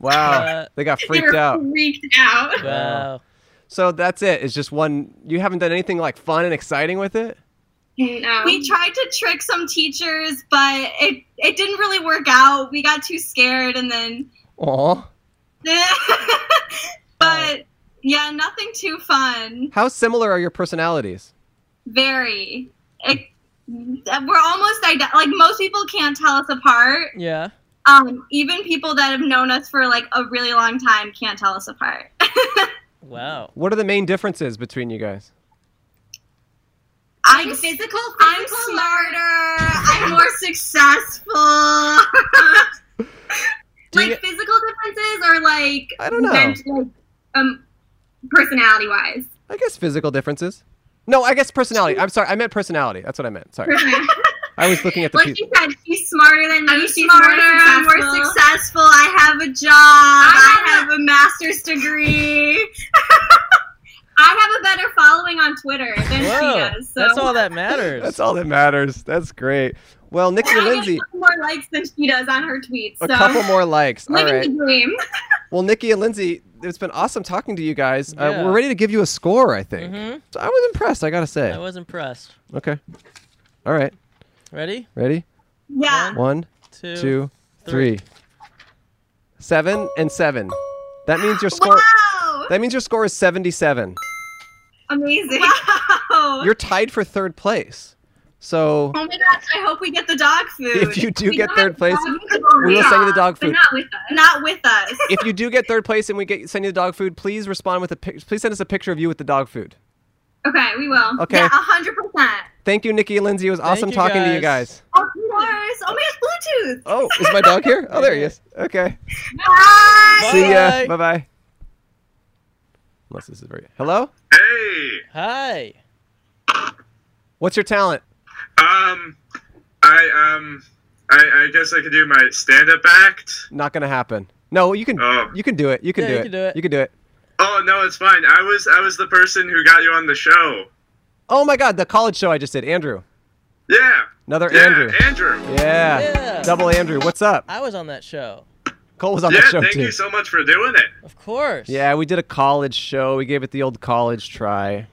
Speaker 2: Wow.
Speaker 1: Uh,
Speaker 2: They got
Speaker 14: they
Speaker 2: freaked
Speaker 14: were
Speaker 2: out.
Speaker 14: freaked out.
Speaker 1: wow.
Speaker 2: So that's it. It's just one you haven't done anything like fun and exciting with it?
Speaker 14: No.
Speaker 9: We tried to trick some teachers, but it it didn't really work out. We got too scared, and then,
Speaker 2: Aw.
Speaker 9: but yeah, nothing too fun.
Speaker 2: How similar are your personalities?
Speaker 9: Very. It, we're almost ide- like most people can't tell us apart.
Speaker 1: Yeah.
Speaker 9: Um, even people that have known us for like a really long time can't tell us apart.
Speaker 1: Wow.
Speaker 2: What are the main differences between you guys?
Speaker 9: I'm
Speaker 14: like
Speaker 9: s-
Speaker 14: physical,
Speaker 9: I'm
Speaker 14: physical-
Speaker 9: smarter. I'm more successful.
Speaker 2: Do
Speaker 14: like
Speaker 2: you-
Speaker 14: physical differences or like
Speaker 2: I don't know.
Speaker 14: ment- like, um, personality wise.
Speaker 2: I guess physical differences. No, I guess personality. I'm sorry. I meant personality. That's what I meant. Sorry. I was looking at the
Speaker 14: Like
Speaker 2: people.
Speaker 14: she said, she's smarter than me.
Speaker 9: I'm
Speaker 14: she's
Speaker 9: smarter.
Speaker 14: More
Speaker 9: I'm more
Speaker 14: successful.
Speaker 9: successful. I have a job.
Speaker 14: I
Speaker 9: I have a master's degree. I have a better following on Twitter than she
Speaker 1: Whoa.
Speaker 9: does. So
Speaker 1: That's all that matters.
Speaker 2: That's all that matters. That's great. Well, Nikki
Speaker 9: I
Speaker 2: and
Speaker 9: get
Speaker 2: Lindsay,
Speaker 9: more likes than she does on her tweets.
Speaker 2: a
Speaker 9: so
Speaker 2: couple more likes. All
Speaker 9: living
Speaker 2: right.
Speaker 9: the dream.
Speaker 2: Well, Nikki and Lindsay, it's been awesome talking to you guys. Uh,
Speaker 1: Yeah.
Speaker 2: we're ready to give you a score, I think.
Speaker 1: Mhm.
Speaker 2: So I was impressed, I got to
Speaker 1: I
Speaker 2: say.
Speaker 1: was impressed.
Speaker 2: Okay. All right.
Speaker 1: Ready?
Speaker 2: Ready?
Speaker 9: Yeah.
Speaker 2: One,
Speaker 1: Two.
Speaker 2: two,
Speaker 1: three.
Speaker 2: three. Seven and seven. That means your score.
Speaker 9: Wow.
Speaker 2: That means your score is 77.
Speaker 9: Amazing.
Speaker 2: You're tied for third place. So
Speaker 9: Oh my gosh, I hope we get the dog food.
Speaker 2: if you do
Speaker 9: We
Speaker 2: get
Speaker 9: don't
Speaker 2: third place,
Speaker 9: have dog food.
Speaker 2: we will send you the dog
Speaker 14: But
Speaker 2: food.
Speaker 14: not with us.
Speaker 9: Not with us.
Speaker 2: if you do get third place and we get send you the dog food, please respond with a pic- please send us a picture of you with the dog food.
Speaker 14: Okay, we will.
Speaker 2: Okay.
Speaker 9: Yeah, 100%.
Speaker 2: Thank you, Nikki and Lindsay. It was
Speaker 1: Thank
Speaker 2: awesome
Speaker 1: you,
Speaker 2: talking to you
Speaker 1: guys.
Speaker 2: guys.
Speaker 9: Of course. Oh my gosh, Bluetooth.
Speaker 2: Oh, is my dog here? Oh, there he is. Okay.
Speaker 9: Bye.
Speaker 2: See ya.
Speaker 1: Bye.
Speaker 2: Bye bye. Unless this is very. Hello.
Speaker 10: Hey,
Speaker 1: Hi.
Speaker 2: What's your talent?
Speaker 10: um, I um, I, I guess I could do my stand-up act.
Speaker 2: Not gonna happen. No, you can.
Speaker 10: Oh.
Speaker 2: You can do it. You can
Speaker 1: Yeah,
Speaker 2: do
Speaker 1: you
Speaker 2: it.
Speaker 1: can do it.
Speaker 2: You can do it.
Speaker 10: Oh no, it's fine. I was I was the person who got you on the show.
Speaker 2: Oh my God, the college show I just did. Andrew.
Speaker 10: Yeah,
Speaker 2: Another
Speaker 10: yeah,
Speaker 2: Andrew.
Speaker 10: Andrew.
Speaker 2: Yeah.
Speaker 1: Yeah.
Speaker 2: Double Andrew. What's up?
Speaker 1: I was on that show.
Speaker 2: Cole was on
Speaker 10: yeah,
Speaker 2: that show
Speaker 10: thank
Speaker 2: too.
Speaker 10: you so much for doing it.
Speaker 1: Of course.
Speaker 2: yeah, we did a college show. We gave it the old college try.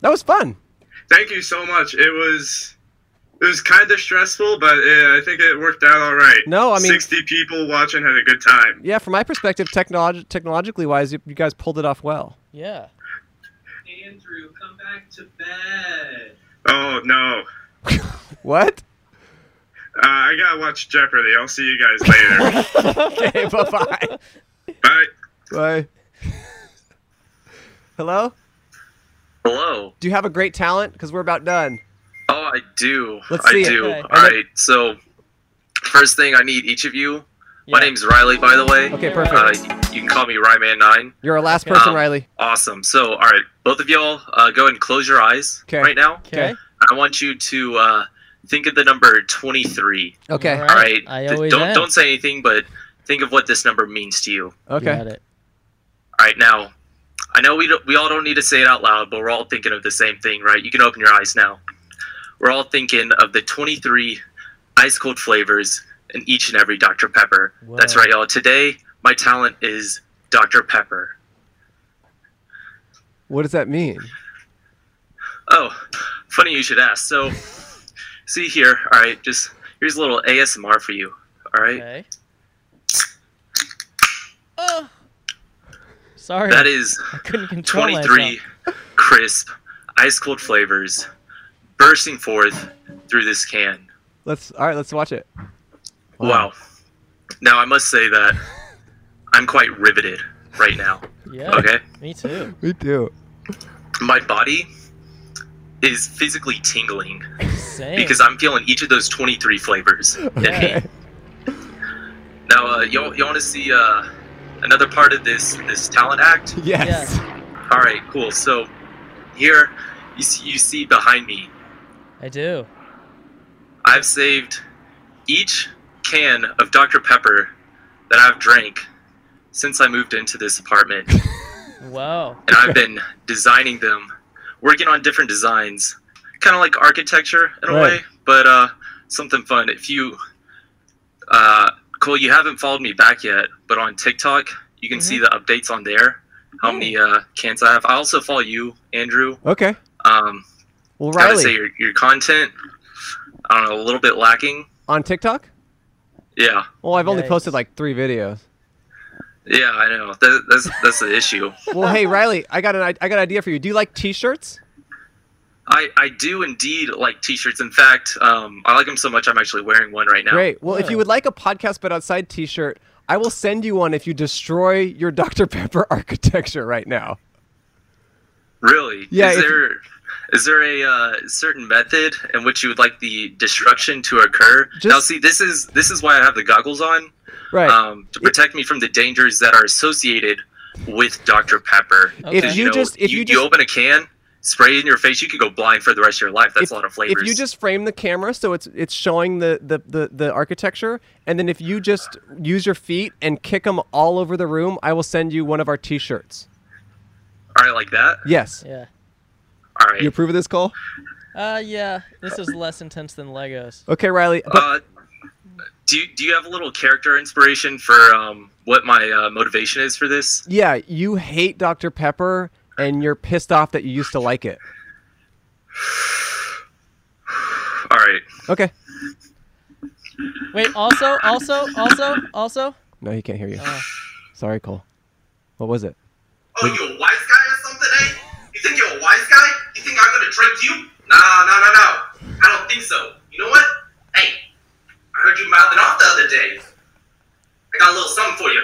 Speaker 2: That was fun.
Speaker 10: Thank you so much. It was it was kind of stressful, but uh I think it worked out all right.
Speaker 2: No, I mean-
Speaker 10: sixty people watching had a good time.
Speaker 2: Yeah, from my perspective, technolog- technologically wise, you, you guys pulled it off well.
Speaker 1: Yeah.
Speaker 15: Andrew, come back to bed.
Speaker 16: Oh no.
Speaker 2: What?
Speaker 16: Uh, I gotta watch Jeopardy. I'll see you guys later.
Speaker 2: okay, bye bye.
Speaker 16: Bye.
Speaker 2: Bye. Hello?
Speaker 12: Hello.
Speaker 2: Do you have a great talent? Because we're about done.
Speaker 12: Oh, I do.
Speaker 2: Let's see
Speaker 12: I
Speaker 2: it.
Speaker 12: do.
Speaker 2: Okay.
Speaker 12: All right. So, first thing I need each of you. My name's Riley, by the way.
Speaker 2: Okay, perfect.
Speaker 12: Uh, y- you can call me Ryman9.
Speaker 2: You're our last person, Riley.
Speaker 12: Awesome. So, all right, both of y'all, uh, go ahead and close your eyes
Speaker 2: Okay.
Speaker 12: right now.
Speaker 2: Okay.
Speaker 12: I want you to uh, think of the number 23.
Speaker 2: Okay.
Speaker 12: All
Speaker 2: All
Speaker 12: right.
Speaker 2: right. I
Speaker 12: Th-
Speaker 2: always
Speaker 12: don't
Speaker 2: am.
Speaker 12: don't say anything, but think of what this number means to you.
Speaker 2: Okay. Got
Speaker 1: it.
Speaker 12: All right, now. I know we don't, we all don't need to say it out loud, but we're all thinking of the same thing, right? You can open your eyes now. We're all thinking of the 23 ice cold flavors in each and every Dr. Pepper. That's
Speaker 17: Whoa.
Speaker 12: right, y'all. Today, my talent is Dr. Pepper.
Speaker 2: What does that mean?
Speaker 12: Oh, funny you should ask. So, see here, all right, just here's a little ASMR for you, all right?
Speaker 1: Oh. Sorry.
Speaker 12: That is
Speaker 1: I couldn't control
Speaker 12: 23 crisp, ice cold flavors bursting forth through this can.
Speaker 2: Let's all right. Let's watch it.
Speaker 12: Wow. Now, I must say that I'm quite riveted right now.
Speaker 1: Yeah.
Speaker 12: Okay?
Speaker 1: Me too.
Speaker 2: We do.
Speaker 12: My body is physically tingling
Speaker 1: Same.
Speaker 12: because I'm feeling each of those 23 flavors.
Speaker 2: Okay.
Speaker 12: Now, uh, y'all, y'all want to see uh, another part of this this talent act?
Speaker 2: Yes.
Speaker 12: All right, cool. So here, you see, you see behind me,
Speaker 1: I do.
Speaker 12: I've saved each can of Dr. Pepper that I've drank since I moved into this apartment, and
Speaker 1: Wow.
Speaker 12: I've been designing them, working on different designs, kind of like architecture in a
Speaker 1: Right.
Speaker 12: way, but uh, something fun. If you, uh, Cole, you haven't followed me back yet, but on TikTok, you can
Speaker 2: Mm-hmm.
Speaker 12: see the updates on there. How many uh, cans I have? I also follow you, Andrew.
Speaker 2: Okay.
Speaker 12: Um,
Speaker 2: Well,
Speaker 12: gotta
Speaker 2: Riley
Speaker 12: say your, your content, I don't know, a little bit lacking.
Speaker 2: on TikTok.
Speaker 12: Yeah,
Speaker 2: Well, I've only
Speaker 12: Yikes.
Speaker 2: posted like three videos.
Speaker 12: yeah, I know. That, that's that's the issue.
Speaker 2: Well, hey Riley, I got an I I got an idea for you. Do you like T-shirts?
Speaker 12: I, I do indeed like t-shirts. In fact, um, I like them so much I'm actually wearing one right now.
Speaker 2: Great. Well, if you would like a podcast but outside T-shirt, I will send you one if you destroy your Dr. Pepper architecture right now.
Speaker 12: Really?
Speaker 2: Yeah,
Speaker 12: Is
Speaker 2: if-
Speaker 12: there is there a uh, certain method in which you would like the destruction to occur? now, see, this is this is why I have the goggles on.
Speaker 2: Right.
Speaker 12: Um, to protect me from the dangers that are associated with Dr. Pepper.
Speaker 2: If
Speaker 12: Because,
Speaker 2: you
Speaker 12: know,
Speaker 2: just- if you
Speaker 12: you
Speaker 2: just-
Speaker 12: open a can, spray it in your face, you could go blind for the rest of your life. That's a lot of flavors.
Speaker 2: If you just frame the camera so it's it's showing the, the, the, the architecture, and then if you just use your feet and kick them all over the room, I will send you one of our T-shirts.
Speaker 12: All right, like that.
Speaker 2: Yes.
Speaker 1: Yeah.
Speaker 12: All right.
Speaker 2: You approve of this, Cole?
Speaker 1: Uh, yeah. This is less intense than Legos.
Speaker 2: Okay, Riley. But
Speaker 12: Uh, do you, do you have a little character inspiration for um, what my uh, motivation is for this?
Speaker 2: yeah, you hate Dr. Pepper, and you're pissed off that you used to like it.
Speaker 12: All right.
Speaker 2: Okay.
Speaker 1: Wait. Also. Also. Also. Also.
Speaker 2: No, he can't hear you. Sorry, Cole. What was it?
Speaker 15: Oh, you a wise guy or something, eh? You think you're a wise guy? You think I'm gonna drink you? Nah, nah, nah, nah. I don't think so. You know what? Hey, I heard you mouthing off the other day. I got a little something for you.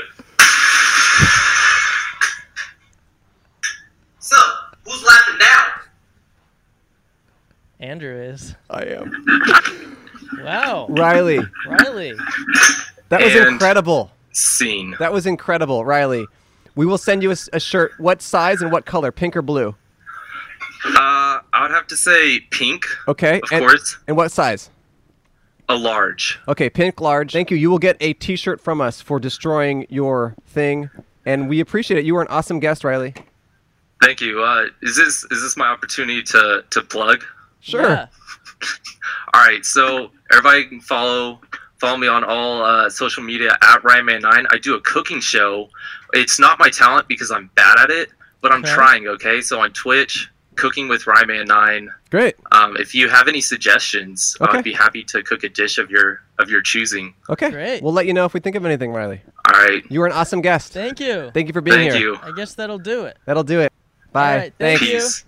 Speaker 15: So, who's laughing now?
Speaker 1: Andrew is.
Speaker 2: I am.
Speaker 1: Wow.
Speaker 2: Riley.
Speaker 1: Riley.
Speaker 2: That was
Speaker 1: And-
Speaker 2: incredible.
Speaker 12: Scene.
Speaker 2: That was incredible, Riley. We will send you a, s- a shirt. What size and what color? Pink or blue?
Speaker 12: Uh, I would have to say pink,
Speaker 2: Okay.
Speaker 12: Of
Speaker 2: and,
Speaker 12: course.
Speaker 2: And what size?
Speaker 12: a large.
Speaker 2: Okay, pink large. Thank you. You will get a T-shirt from us for destroying your thing, and we appreciate it. You were an awesome guest, Riley.
Speaker 12: Thank you. Uh, is this is this my opportunity to to plug?
Speaker 2: Sure.
Speaker 12: All right. So everybody can follow follow me on all uh, social media at Ryanman9. I do a cooking show. It's not my talent because I'm bad at it, but I'm
Speaker 2: Okay.
Speaker 12: trying. Okay. So on Twitch, cooking with Ryanman9.
Speaker 2: Great.
Speaker 12: Um, if you have any suggestions,
Speaker 2: Okay.
Speaker 12: I'd be happy to cook a dish of your of your choosing.
Speaker 2: Okay. Great. We'll let you know if we think of anything, Riley.
Speaker 12: All right.
Speaker 2: You were an awesome guest.
Speaker 1: Thank you.
Speaker 2: Thank you for being here.
Speaker 1: I guess that'll do it.
Speaker 2: That'll do it. Bye.
Speaker 1: All right, thank you.
Speaker 2: Thanks.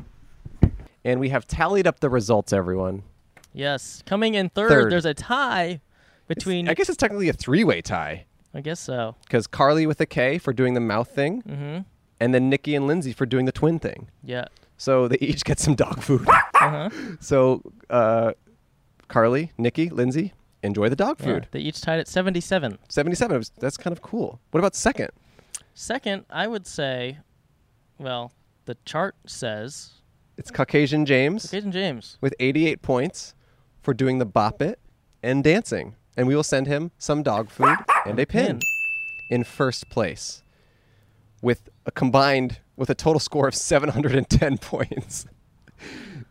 Speaker 2: And we have tallied up the results, everyone.
Speaker 1: Yes, coming in third,
Speaker 2: Third.
Speaker 1: There's a tie between.
Speaker 2: I guess it's technically a three-way tie
Speaker 1: I guess so.
Speaker 2: because Carly with a K for doing the mouth thing,
Speaker 1: Mm-hmm.
Speaker 2: and then Nikki and Lindsay for doing the twin thing.
Speaker 1: Yeah.
Speaker 2: So they each get some dog food.
Speaker 1: Uh-huh.
Speaker 2: so uh, Carly, Nikki, Lindsay, enjoy the dog
Speaker 1: Yeah,
Speaker 2: food.
Speaker 1: they each tied at 77.
Speaker 2: 77. It was- That's kind of cool. What about second?
Speaker 1: Second, I would say, well, the chart says
Speaker 2: It's Caucasian James.
Speaker 1: Caucasian James.
Speaker 2: With 88 points for doing the bop it and dancing. And we will send him some dog food and a pin in first place with a combined, with a total score of 710 points.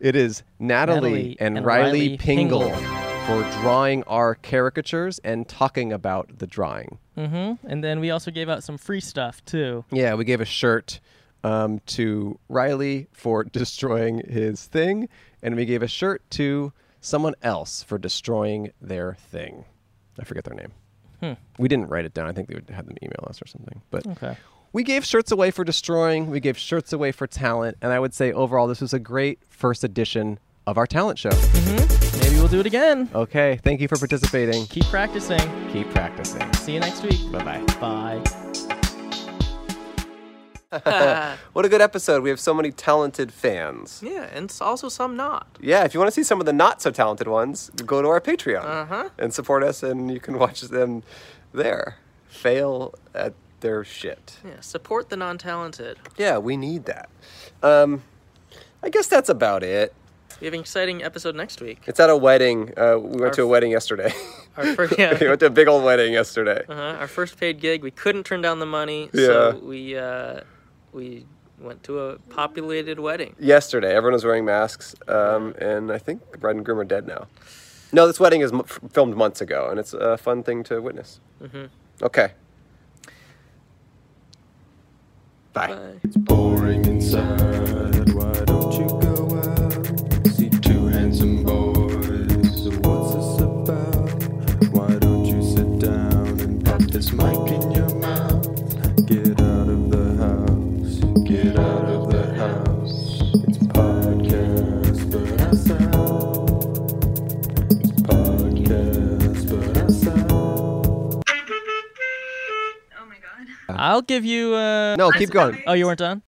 Speaker 2: It is Natalie,
Speaker 1: Natalie
Speaker 2: and,
Speaker 1: and
Speaker 2: Riley,
Speaker 1: Riley
Speaker 2: Pingle, for drawing our caricatures and talking about the drawing.
Speaker 1: Mm-hmm. And then we also gave out some free stuff too.
Speaker 2: Yeah, we gave a shirt um, to Riley for destroying his thing, and we gave a shirt to someone else for destroying their thing. I forget their name.
Speaker 1: Hmm.
Speaker 2: We didn't write it down. I think they would have them email us or something. But
Speaker 1: Okay.
Speaker 2: we gave shirts away for destroying. We gave shirts away for talent, and I would say overall this was a great first edition of our talent show.
Speaker 1: Mm-hmm. Maybe we'll do it again.
Speaker 2: Okay, thank you for participating.
Speaker 1: Keep practicing.
Speaker 2: Keep practicing.
Speaker 1: See you next week.
Speaker 2: Bye
Speaker 1: bye.
Speaker 2: Bye. what a good episode. We have so many talented fans.
Speaker 17: Yeah, and s- also some not.
Speaker 2: Yeah, if you want to see some of the not so talented ones, go to our Patreon
Speaker 17: Uh-huh.
Speaker 2: and support us, and you can watch them there. Fail at their shit.
Speaker 17: Yeah, support the non-talented.
Speaker 2: Yeah, we need that. Um, I guess that's about it.
Speaker 17: We have an exciting episode next week.
Speaker 2: It's at a wedding. Uh, we went
Speaker 17: Our
Speaker 2: to a
Speaker 17: f-
Speaker 2: wedding yesterday.
Speaker 17: Our first, yeah.
Speaker 2: we went to a big old wedding yesterday.
Speaker 17: Uh-huh. Our first paid gig, we couldn't turn down the money,
Speaker 2: Yeah.
Speaker 17: so we uh, we went to a populated wedding.
Speaker 2: Yesterday, everyone was wearing masks, um, and I think the bride and groom are dead now. No, this wedding is m- f- filmed months ago, and it's a fun thing to witness.
Speaker 17: Mm-hmm.
Speaker 2: Okay.
Speaker 3: It's boring inside. Why don't you go out? See two handsome boys. So what's this about? Why don't you sit down and pop this mic in your mouth? Get out of the house. Get out of the house. It's podcast for us out. It's podcast for us out.
Speaker 1: I'll give you. Uh,
Speaker 2: No, keep going.
Speaker 1: Oh, you weren't done.